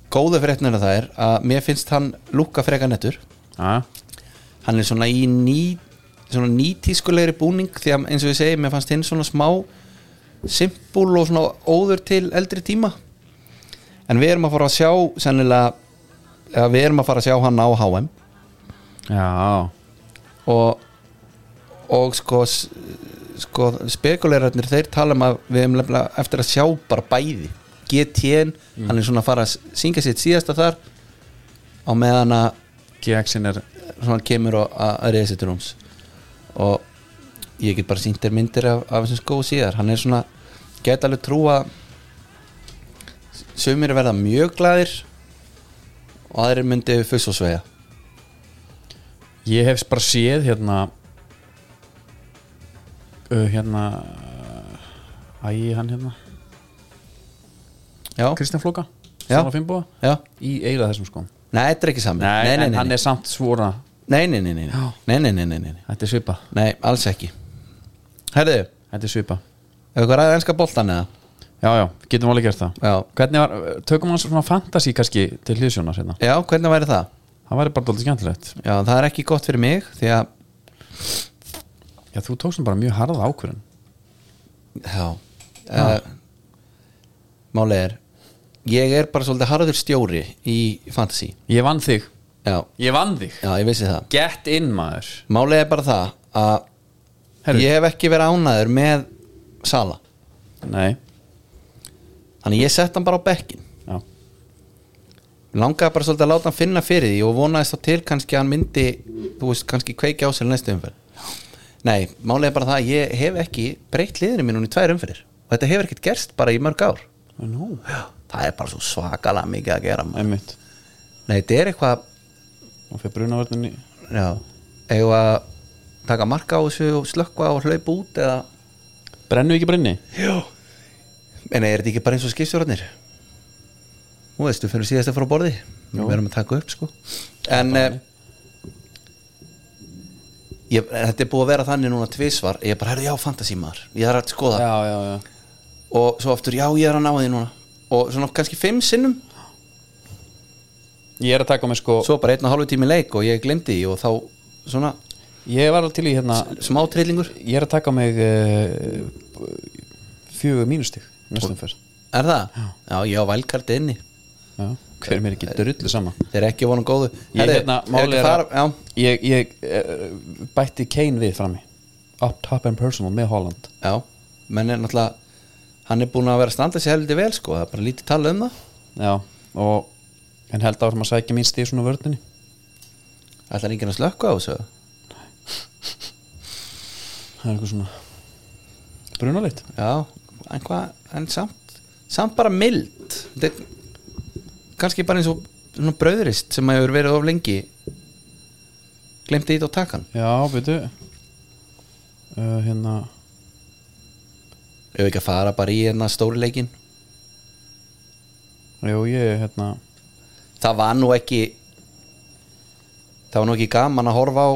[SPEAKER 2] Góða fréttnir að það er að mér finnst hann lúka freka nettur
[SPEAKER 1] aða,
[SPEAKER 2] hann er svona í ný svona nýtískulegri búning því að eins og ég segi, mér fannst hinn svona smá simpul og svona óður til eldri tíma en við erum að fara að sjá sennilega, eða við erum að fara að sjá hann á HM
[SPEAKER 1] já
[SPEAKER 2] og og sko, s- sko spekuleirarnir þeir tala um að við erum lefnilega eftir að sjá bara bæði GTN, hann er svona að fara að syngja sitt síðasta þar á meðan að
[SPEAKER 1] GX-in er
[SPEAKER 2] svona kemur og að að reyða sér til rúms og ég get bara sínt þér myndir af, af þessum skóu síðar hann er svona, get alveg trúa sumir verða mjög glæðir og aðrir myndi fuss og sveja
[SPEAKER 1] Ég hef bara séð hérna uh, Hérna Æ, hann hérna
[SPEAKER 2] já,
[SPEAKER 1] Kristján Flóka,
[SPEAKER 2] Já.
[SPEAKER 1] Stjána Fimboa
[SPEAKER 2] já,
[SPEAKER 1] Í eiginlega þessum sko
[SPEAKER 2] nei, þetta er ekki sami
[SPEAKER 1] Nei,
[SPEAKER 2] nei,
[SPEAKER 1] en
[SPEAKER 2] nei,
[SPEAKER 1] hann
[SPEAKER 2] nei,
[SPEAKER 1] er samt svona
[SPEAKER 2] nei, nei, nei, nei,
[SPEAKER 1] Já.
[SPEAKER 2] nei, nei, nei, nei, nei, nei.
[SPEAKER 1] Þetta er svipa,
[SPEAKER 2] nei alls ekki herðu,
[SPEAKER 1] þetta er svipa
[SPEAKER 2] hefur hvað ræðið enska boltan eða
[SPEAKER 1] Já, já, getum alveg gert það
[SPEAKER 2] já,
[SPEAKER 1] Hvernig var, tökum hann svona fantasy kannski til hliðsjónar hérna
[SPEAKER 2] já, hvernig væri það
[SPEAKER 1] Það væri bara dálítið skemmtilegt
[SPEAKER 2] já, það er ekki gott fyrir mig því að,
[SPEAKER 1] Já, þú tókst hann bara mjög harða ákvörðin
[SPEAKER 2] já, já. málið er ég er bara svolítið harður stjóri í fantasy
[SPEAKER 1] Ég vann þig,
[SPEAKER 2] já,
[SPEAKER 1] ég vann þig
[SPEAKER 2] já ég vissi það
[SPEAKER 1] Get in maður
[SPEAKER 2] málið er bara það að
[SPEAKER 1] Herru.
[SPEAKER 2] ég hef ekki verið ánæður með Sala
[SPEAKER 1] Nei,
[SPEAKER 2] þannig ég sett hann bara á bekkin
[SPEAKER 1] já,
[SPEAKER 2] langaði bara svolítið að láta hann finna fyrir því og vonaðist þá til kannski að hann myndi þú veist kannski kveikja á sér í næstu umferð nei, málið er bara það að ég hef ekki breytt liðinu mínu í tvær umferðir og þetta hefur ekkert gerst bara í mörg ár
[SPEAKER 1] nú,
[SPEAKER 2] það er bara svo svakalega mikið að gera maður.
[SPEAKER 1] einmitt
[SPEAKER 2] nei, þetta er eitthvað
[SPEAKER 1] Og fyrir brunavörninni
[SPEAKER 2] Já, eigum við að taka marka á þessu og slökka og hlaupa út eða
[SPEAKER 1] Brennu ekki brenni?
[SPEAKER 2] Já En er þetta ekki bara eins og skipstjórarnir? Nú veist, við fyrir síðast að fara á borði
[SPEAKER 1] Jú.
[SPEAKER 2] Við erum að taka upp sko En eh, ég, þetta er búið að vera þannig núna tvisvar Ég er bara, herrðu, já, fantasy maður Ég er að skoða
[SPEAKER 1] Já, já, já
[SPEAKER 2] Og svo aftur, já, ég er að ná því núna Og svona kannski fimm sinnum
[SPEAKER 1] Ég er að taka mig sko
[SPEAKER 2] Svo bara einn og hálfu tími leik og ég glemdi því Og þá svona
[SPEAKER 1] Ég var alveg til í hérna
[SPEAKER 2] smá trillingur
[SPEAKER 1] Ég er að taka mig uh, Fjögur mínustig Næstum fyrst
[SPEAKER 2] Er það? Já, já ég á vælkarti inni
[SPEAKER 1] Hver er mér ekki drullu sama
[SPEAKER 2] Þeir eru ekki vonum góðu
[SPEAKER 1] Ég,
[SPEAKER 2] Herðu,
[SPEAKER 1] hérna,
[SPEAKER 2] ef
[SPEAKER 1] málið
[SPEAKER 2] ekki
[SPEAKER 1] er
[SPEAKER 2] fara,
[SPEAKER 1] að-
[SPEAKER 2] já,
[SPEAKER 1] Ég, ég uh, bætti Kane við frammi Up top and personal með Holland
[SPEAKER 2] já, menn er náttúrulega Hann er búin að vera að standa sér heldur vel sko Það er bara lítið tala um það
[SPEAKER 1] Já og En held áfram að sækja mín stíð svona vördinni
[SPEAKER 2] Það er enginn að slökka á þessu
[SPEAKER 1] Það er eitthvað svona Brunalitt
[SPEAKER 2] Já, en hvað, en samt Samt bara mild Þetta er kannski bara eins og svona brauðrist sem hefur verið of lengi Glemti ít á takan
[SPEAKER 1] Já, veitu uh, Hérna
[SPEAKER 2] Ef ekki að fara bara í hérna stóri leikin
[SPEAKER 1] Jú, ég hérna
[SPEAKER 2] það var nú ekki það var nú ekki gaman að horfa á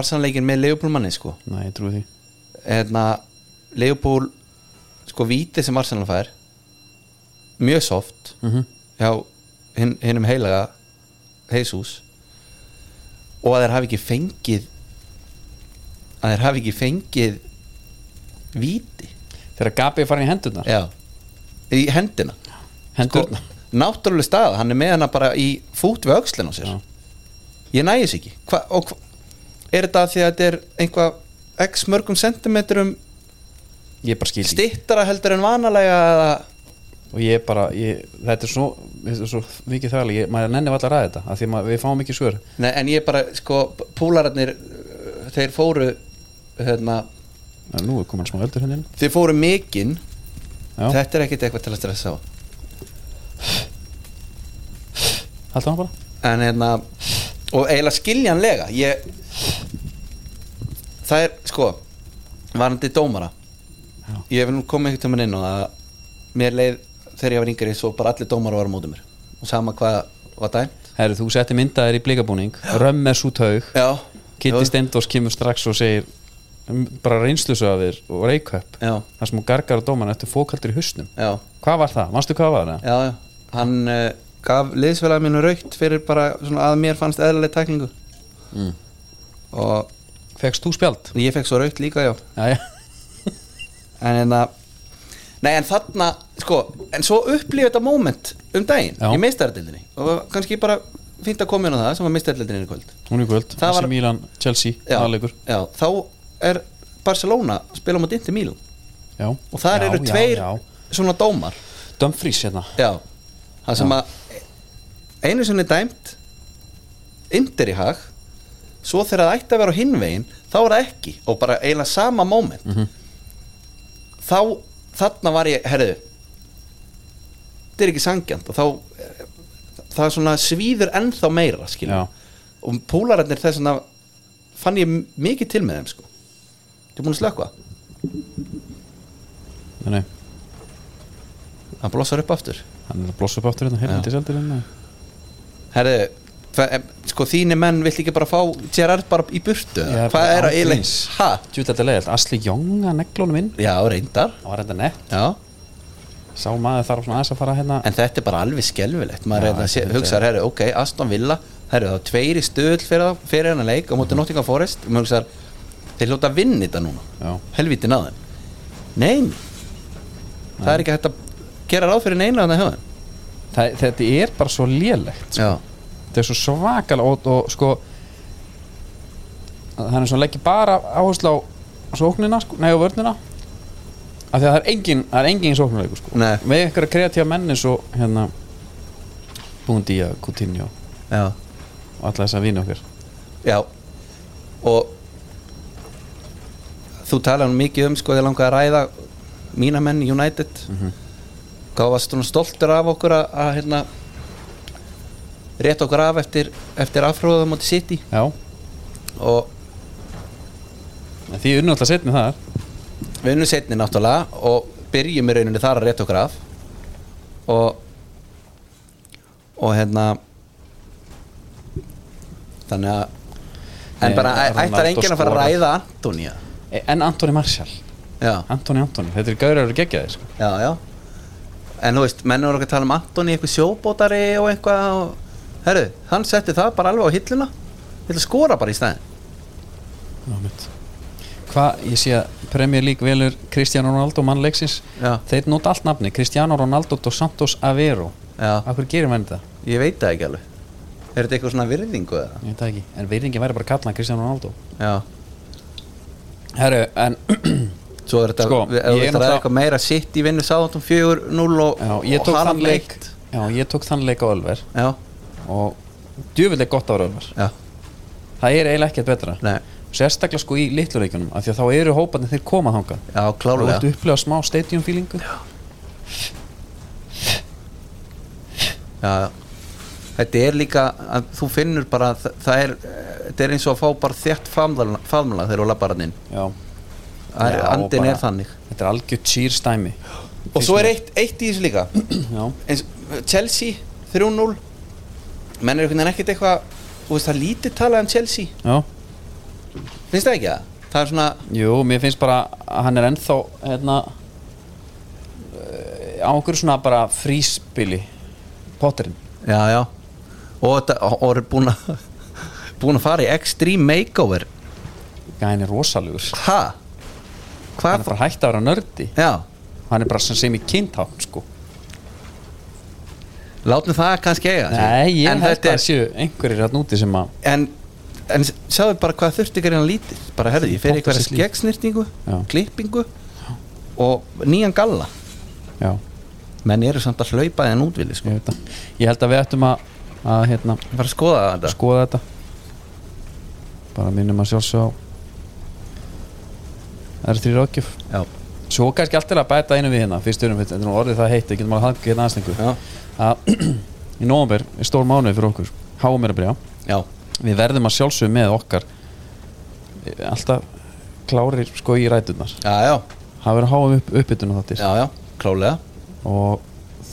[SPEAKER 2] arsanleikin með leifupúlmanni sko
[SPEAKER 1] Nei, ég trúi því
[SPEAKER 2] hérna leifupúl sko víti sem arsanlega fær mjög soft
[SPEAKER 1] mm
[SPEAKER 2] hjá hinn, hinnum heilaga heisús og að þeir hafi ekki fengið að þeir hafi ekki fengið víti
[SPEAKER 1] Þegar Gabi er farin í hendurnar
[SPEAKER 2] já, í hendina sko,
[SPEAKER 1] Hendurnar
[SPEAKER 2] náttúrulega stað, hann er með hana bara í fút við öxlinn á sér
[SPEAKER 1] Já.
[SPEAKER 2] ég næði þess ekki hva, og hva, er þetta af því að þetta er einhvað x mörgum sentimetrum
[SPEAKER 1] Ég bara skil því
[SPEAKER 2] stittara heldur en vanalega eða,
[SPEAKER 1] Og ég bara, ég, þetta er svo, þetta er svo mikið þvæli, ég, maður nenni alltaf að ræða þetta af því að við fáum ekki svör
[SPEAKER 2] nei, en ég bara sko púlararnir uh, þeir fóru hérna,
[SPEAKER 1] en Nú er komin smá eldur henni
[SPEAKER 2] þeir fóru mikinn
[SPEAKER 1] Já,
[SPEAKER 2] þetta er ekkit eitthvað til að stressa á
[SPEAKER 1] halda hann bara
[SPEAKER 2] en hérna og eiginlega skiljanlega ég það er sko varandi dómara
[SPEAKER 1] Já.
[SPEAKER 2] ég hef nú komið einhvern tímann inn og að mér leið þegar ég var yngri svo bara allir dómar var á móti mér og sama hvað var dæmt
[SPEAKER 1] Herru, þú setti myndaðir í blikabúning Römm er svo taug
[SPEAKER 2] Já,
[SPEAKER 1] Kitty
[SPEAKER 2] Já.
[SPEAKER 1] Steindors kemur strax og segir um, bara reynslusöfir og reykjöp
[SPEAKER 2] Já.
[SPEAKER 1] þar sem hún gargar á dóman eftir fókaldur í husnum
[SPEAKER 2] já,
[SPEAKER 1] Hvað var það? Manstu hvað var það?
[SPEAKER 2] já, já. hann uh, gaf liðsfélag mínu raukt fyrir bara svona að mér fannst eðlileg tæklingu og
[SPEAKER 1] Fekst þú spjald?
[SPEAKER 2] ég fekk svo raukt líka já
[SPEAKER 1] Já, já
[SPEAKER 2] en en að Nei en þarna, sko, en svo upplýði þetta moment um daginn
[SPEAKER 1] Já.
[SPEAKER 2] í meistærdildinni og kannski bara fínt að koma inn á það sem var meistærdildinni í kvöld
[SPEAKER 1] Hún er kvöld,
[SPEAKER 2] Það
[SPEAKER 1] það
[SPEAKER 2] var-
[SPEAKER 1] Milan, Chelsea,
[SPEAKER 2] já,
[SPEAKER 1] aðleikur
[SPEAKER 2] já, þá er Barcelona að spila á móti Inter Milan
[SPEAKER 1] Já,
[SPEAKER 2] og þar
[SPEAKER 1] já,
[SPEAKER 2] eru
[SPEAKER 1] já,
[SPEAKER 2] tveir
[SPEAKER 1] já.
[SPEAKER 2] svona dómar
[SPEAKER 1] Dumfries hérna
[SPEAKER 2] já, það sem að einu sinni dæmt Inter í hag svo þegar það ætti að vera á hinvegin þá er það ekki og bara eiginlega sama moment þá þarna var ég, herðu þetta er ekki sangjant og þá eh, það er svona svíður ennþá meira
[SPEAKER 1] Já.
[SPEAKER 2] skilja og púlararnir þess að fann ég m- mikið til með þeim sko Þú er búin að slökka
[SPEAKER 1] Nei, nei,
[SPEAKER 2] Hann blossar upp aftur
[SPEAKER 1] hann er að blossa upp áttur hérna Helviti seldir hérna
[SPEAKER 2] Herðu, hva- em, sko þínir menn vill ekki bara fá Gerard bara í burtu
[SPEAKER 1] Já,
[SPEAKER 2] eða?
[SPEAKER 1] bara
[SPEAKER 2] Hvað er að
[SPEAKER 1] án
[SPEAKER 2] eiginlega?
[SPEAKER 1] gríns.
[SPEAKER 2] Hæ?
[SPEAKER 1] Djú, þetta er leiðilt Asli Jónga neglónum inn
[SPEAKER 2] Já, reyndar
[SPEAKER 1] Það var þetta nett
[SPEAKER 2] Já,
[SPEAKER 1] Sá maður þarf svona aðeins að fara hérna
[SPEAKER 2] en þetta er bara alveg skelfilegt maður
[SPEAKER 1] Já,
[SPEAKER 2] reyndar að sé-
[SPEAKER 1] þetta er-
[SPEAKER 2] hugsar, herru, ok, Aston Villa herru, þá tveir í stöðl fyrir, þá- fyrir hennar leik á
[SPEAKER 1] Mhm.
[SPEAKER 2] móti Nottingham Forest maður hugsar, þeir hljóta að vinna þetta núna
[SPEAKER 1] Já.
[SPEAKER 2] helvítið náðum Nein, það er ekki hægt að gera ráð fyrir neina þannig að höfum
[SPEAKER 1] Það, Þetta er bara svo lélegt
[SPEAKER 2] Já,
[SPEAKER 1] þetta er svo svakalega og, og sko það er svo leggja bara áherslu á svo óknina, sko, nei á vörnina af því að það er engin, það er engin sóknuleikur sko,
[SPEAKER 2] Nei.
[SPEAKER 1] með einhverja kreatíva menni svo hérna búin díja, Coutinho
[SPEAKER 2] já,
[SPEAKER 1] og alla þess að vinna okkar
[SPEAKER 2] já og þú talaði nú mikið um sko þegar langaði að ræða mína menn í United
[SPEAKER 1] Mhm.
[SPEAKER 2] hvað varst þú nú stoltur af okkur að, að hérna rétt okkur af eftir, eftir afhróðum á City
[SPEAKER 1] já,
[SPEAKER 2] og
[SPEAKER 1] en því unnu alltaf setni þar
[SPEAKER 2] við unnum setni náttúrulega og byrjum í rauninni þar að rétt okkur af og og hérna þannig að en
[SPEAKER 1] Nei,
[SPEAKER 2] bara æ-
[SPEAKER 1] Ronaldo
[SPEAKER 2] ætlar enginn að fara að
[SPEAKER 1] skorar.
[SPEAKER 2] ræða Antonía
[SPEAKER 1] E- en Antoni Marshall,
[SPEAKER 2] já
[SPEAKER 1] Antoni Antoni þetta er gaurið að vera geggjaði sko.
[SPEAKER 2] Já, já En þú veist, menn voru ekki að tala um Antoni eitthvað sjóbótari og eitthvað og... Herru, hann setti það bara alveg á hilluna Vill skora bara í stæðin
[SPEAKER 1] Já, mitt. hvað, ég sé að Premier League velur Cristiano Ronaldo mannleiksins
[SPEAKER 2] Já.
[SPEAKER 1] þeir nota allt nafni, Cristiano Ronaldo dos Santos Aveiro
[SPEAKER 2] Já.
[SPEAKER 1] Akkur gerir maður þetta?
[SPEAKER 2] Ég veit það ekki alveg Er þetta eitthvað svona virðingu eða?
[SPEAKER 1] Ég veit það ekki, en veiringin væri bara að kalla hann Cristiano Ronaldo
[SPEAKER 2] Já
[SPEAKER 1] Herru, en
[SPEAKER 2] Svo er þetta,
[SPEAKER 1] Sko,
[SPEAKER 2] sko,
[SPEAKER 1] ég
[SPEAKER 2] ef þú veist
[SPEAKER 1] er
[SPEAKER 2] að
[SPEAKER 1] náttúrulega-
[SPEAKER 2] ræða eitthvað meira sitt í vinnu sáðum 4-0 og,
[SPEAKER 1] já, ég
[SPEAKER 2] og
[SPEAKER 1] tók
[SPEAKER 2] Haaland
[SPEAKER 1] þann leik
[SPEAKER 2] eitt.
[SPEAKER 1] Já, ég tók þann leik á Ölver
[SPEAKER 2] Já,
[SPEAKER 1] og djöfileg gott á Ölver
[SPEAKER 2] já,
[SPEAKER 1] Það er eiginlega ekkert betra
[SPEAKER 2] nei,
[SPEAKER 1] Sérstaklega sko í litlureikunum, af því að þá eru hóparnir þeir koma þangað
[SPEAKER 2] já,
[SPEAKER 1] Þú
[SPEAKER 2] klálega
[SPEAKER 1] ertu upplega smá stadium feelingu
[SPEAKER 2] Já, já. þetta er líka að þú finnur bara að það, það er, eh, þetta er eins og að fá bara þétt faðmla faðmla þegar þú lappar hann inn
[SPEAKER 1] Já,
[SPEAKER 2] Það er-
[SPEAKER 1] Já,
[SPEAKER 2] Andin
[SPEAKER 1] bara-
[SPEAKER 2] er þannig
[SPEAKER 1] þetta er algjör cheerstæmi
[SPEAKER 2] Og svo er eitt, eitt í þessu líka
[SPEAKER 1] Já,
[SPEAKER 2] eins, Chelsea 3-0 menn er einhvern veginn ekkert eitthvað þú veist það er lítið talað um Chelsea
[SPEAKER 1] já
[SPEAKER 2] finnst það ekki það? Það er svona
[SPEAKER 1] Jú, mér finnst bara að hann er ennþá hérna eh, á okkur svona bara fríspili Potterinn
[SPEAKER 2] já, já. og þetta og er búin að búin að fara í extreme makeover
[SPEAKER 1] Gæðin er rosalegur
[SPEAKER 2] ha?
[SPEAKER 1] Hann er
[SPEAKER 2] hvað?
[SPEAKER 1] bara hægt að vera nördi
[SPEAKER 2] já,
[SPEAKER 1] Hann er bara sem sem í kyntátt sko
[SPEAKER 2] látum það kannski eiga sig.
[SPEAKER 1] Nei, ég
[SPEAKER 2] en
[SPEAKER 1] held að
[SPEAKER 2] þetta
[SPEAKER 1] það
[SPEAKER 2] er
[SPEAKER 1] séu einhverjir hann úti sem að
[SPEAKER 2] en, en sjáðu bara hvað þurfti ekki að lítið bara herðu, ég fer í
[SPEAKER 1] Pottar
[SPEAKER 2] eitthvað
[SPEAKER 1] sitt líf.
[SPEAKER 2] skeggsnýrtingu
[SPEAKER 1] Já.
[SPEAKER 2] klippingu og nýjan galla
[SPEAKER 1] Já,
[SPEAKER 2] menn eru samt að hlaupa þenn útvili sko.
[SPEAKER 1] ég veit það Ég held að við ættum að, að hérna,
[SPEAKER 2] Ég var að skoða þetta
[SPEAKER 1] skoða þetta Bara minnum að sjálfsög á Það eru þrýr ákjöf
[SPEAKER 2] Já,
[SPEAKER 1] Svo kannski alltaf að bæta einu við hérna Fyrst erum við, þetta er nú orðið það heitt Við getum alveg að hafa hérna aðstengu
[SPEAKER 2] já,
[SPEAKER 1] að í nóvambir er stór mánuði fyrir okkur háum er að byrja
[SPEAKER 2] já,
[SPEAKER 1] við verðum að sjálfsögum með okkar eh, alltaf klárir sko í rætunar
[SPEAKER 2] já, já,
[SPEAKER 1] það verður háum upp, uppbytun á þáttir
[SPEAKER 2] já, já, klálega
[SPEAKER 1] og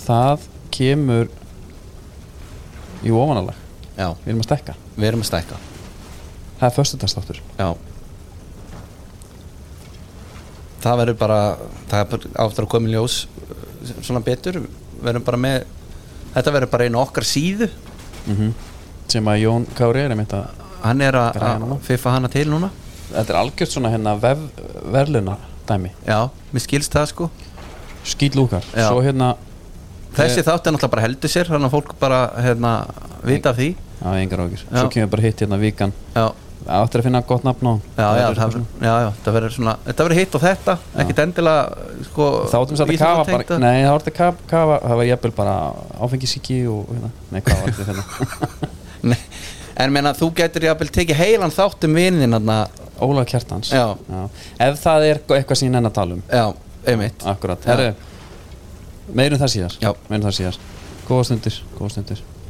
[SPEAKER 1] það kemur í ofanalag
[SPEAKER 2] já,
[SPEAKER 1] við erum að stekka
[SPEAKER 2] við erum að stækka
[SPEAKER 1] það er föstudagstáttur
[SPEAKER 2] já það verður bara það er bara aftur að koma í ljós uh, svona betur, við verðum bara með þetta verður bara einu okkar síðu
[SPEAKER 1] sem að Jón Kári er einmitt að
[SPEAKER 2] hann er að-
[SPEAKER 1] Græja
[SPEAKER 2] að
[SPEAKER 1] núna.
[SPEAKER 2] fiffa hana til núna
[SPEAKER 1] þetta er algjört svona hérna vef, verðluna dæmi,
[SPEAKER 2] já, mér skilst það sko
[SPEAKER 1] skýtlúkar
[SPEAKER 2] Já.
[SPEAKER 1] svo hérna,
[SPEAKER 2] þessi þátt er náttúrulega bara heldur sér þannig að fólk bara hérna, vita af því
[SPEAKER 1] já, engar ágjur
[SPEAKER 2] Já.
[SPEAKER 1] svo kemur bara hitt hérna vikan
[SPEAKER 2] já,
[SPEAKER 1] áttur að finna gott nafn á honum.
[SPEAKER 2] já, já,
[SPEAKER 1] er
[SPEAKER 2] það,
[SPEAKER 1] svona-
[SPEAKER 2] já, já, það verður svona þetta verður hitt og þetta, ekkit endilega sko,
[SPEAKER 1] þá áttum við að kafa bara, nei þá áttum við að kafa, kafa það var jafnvel bara áfengisíki og hérna, nei hvað var þetta hérna
[SPEAKER 2] nei. en meina þú getur jafnvel tekið heilan þátt um vinnin þarna
[SPEAKER 1] Ólaf Kjartans
[SPEAKER 2] Já.
[SPEAKER 1] ef það er eitthvað sem ég nenn að tala um
[SPEAKER 2] já, einmitt
[SPEAKER 1] akkurat,
[SPEAKER 2] Já.
[SPEAKER 1] herru meirum um það síðar
[SPEAKER 2] Já.
[SPEAKER 1] meirum það síðar, góða stundir góða stundir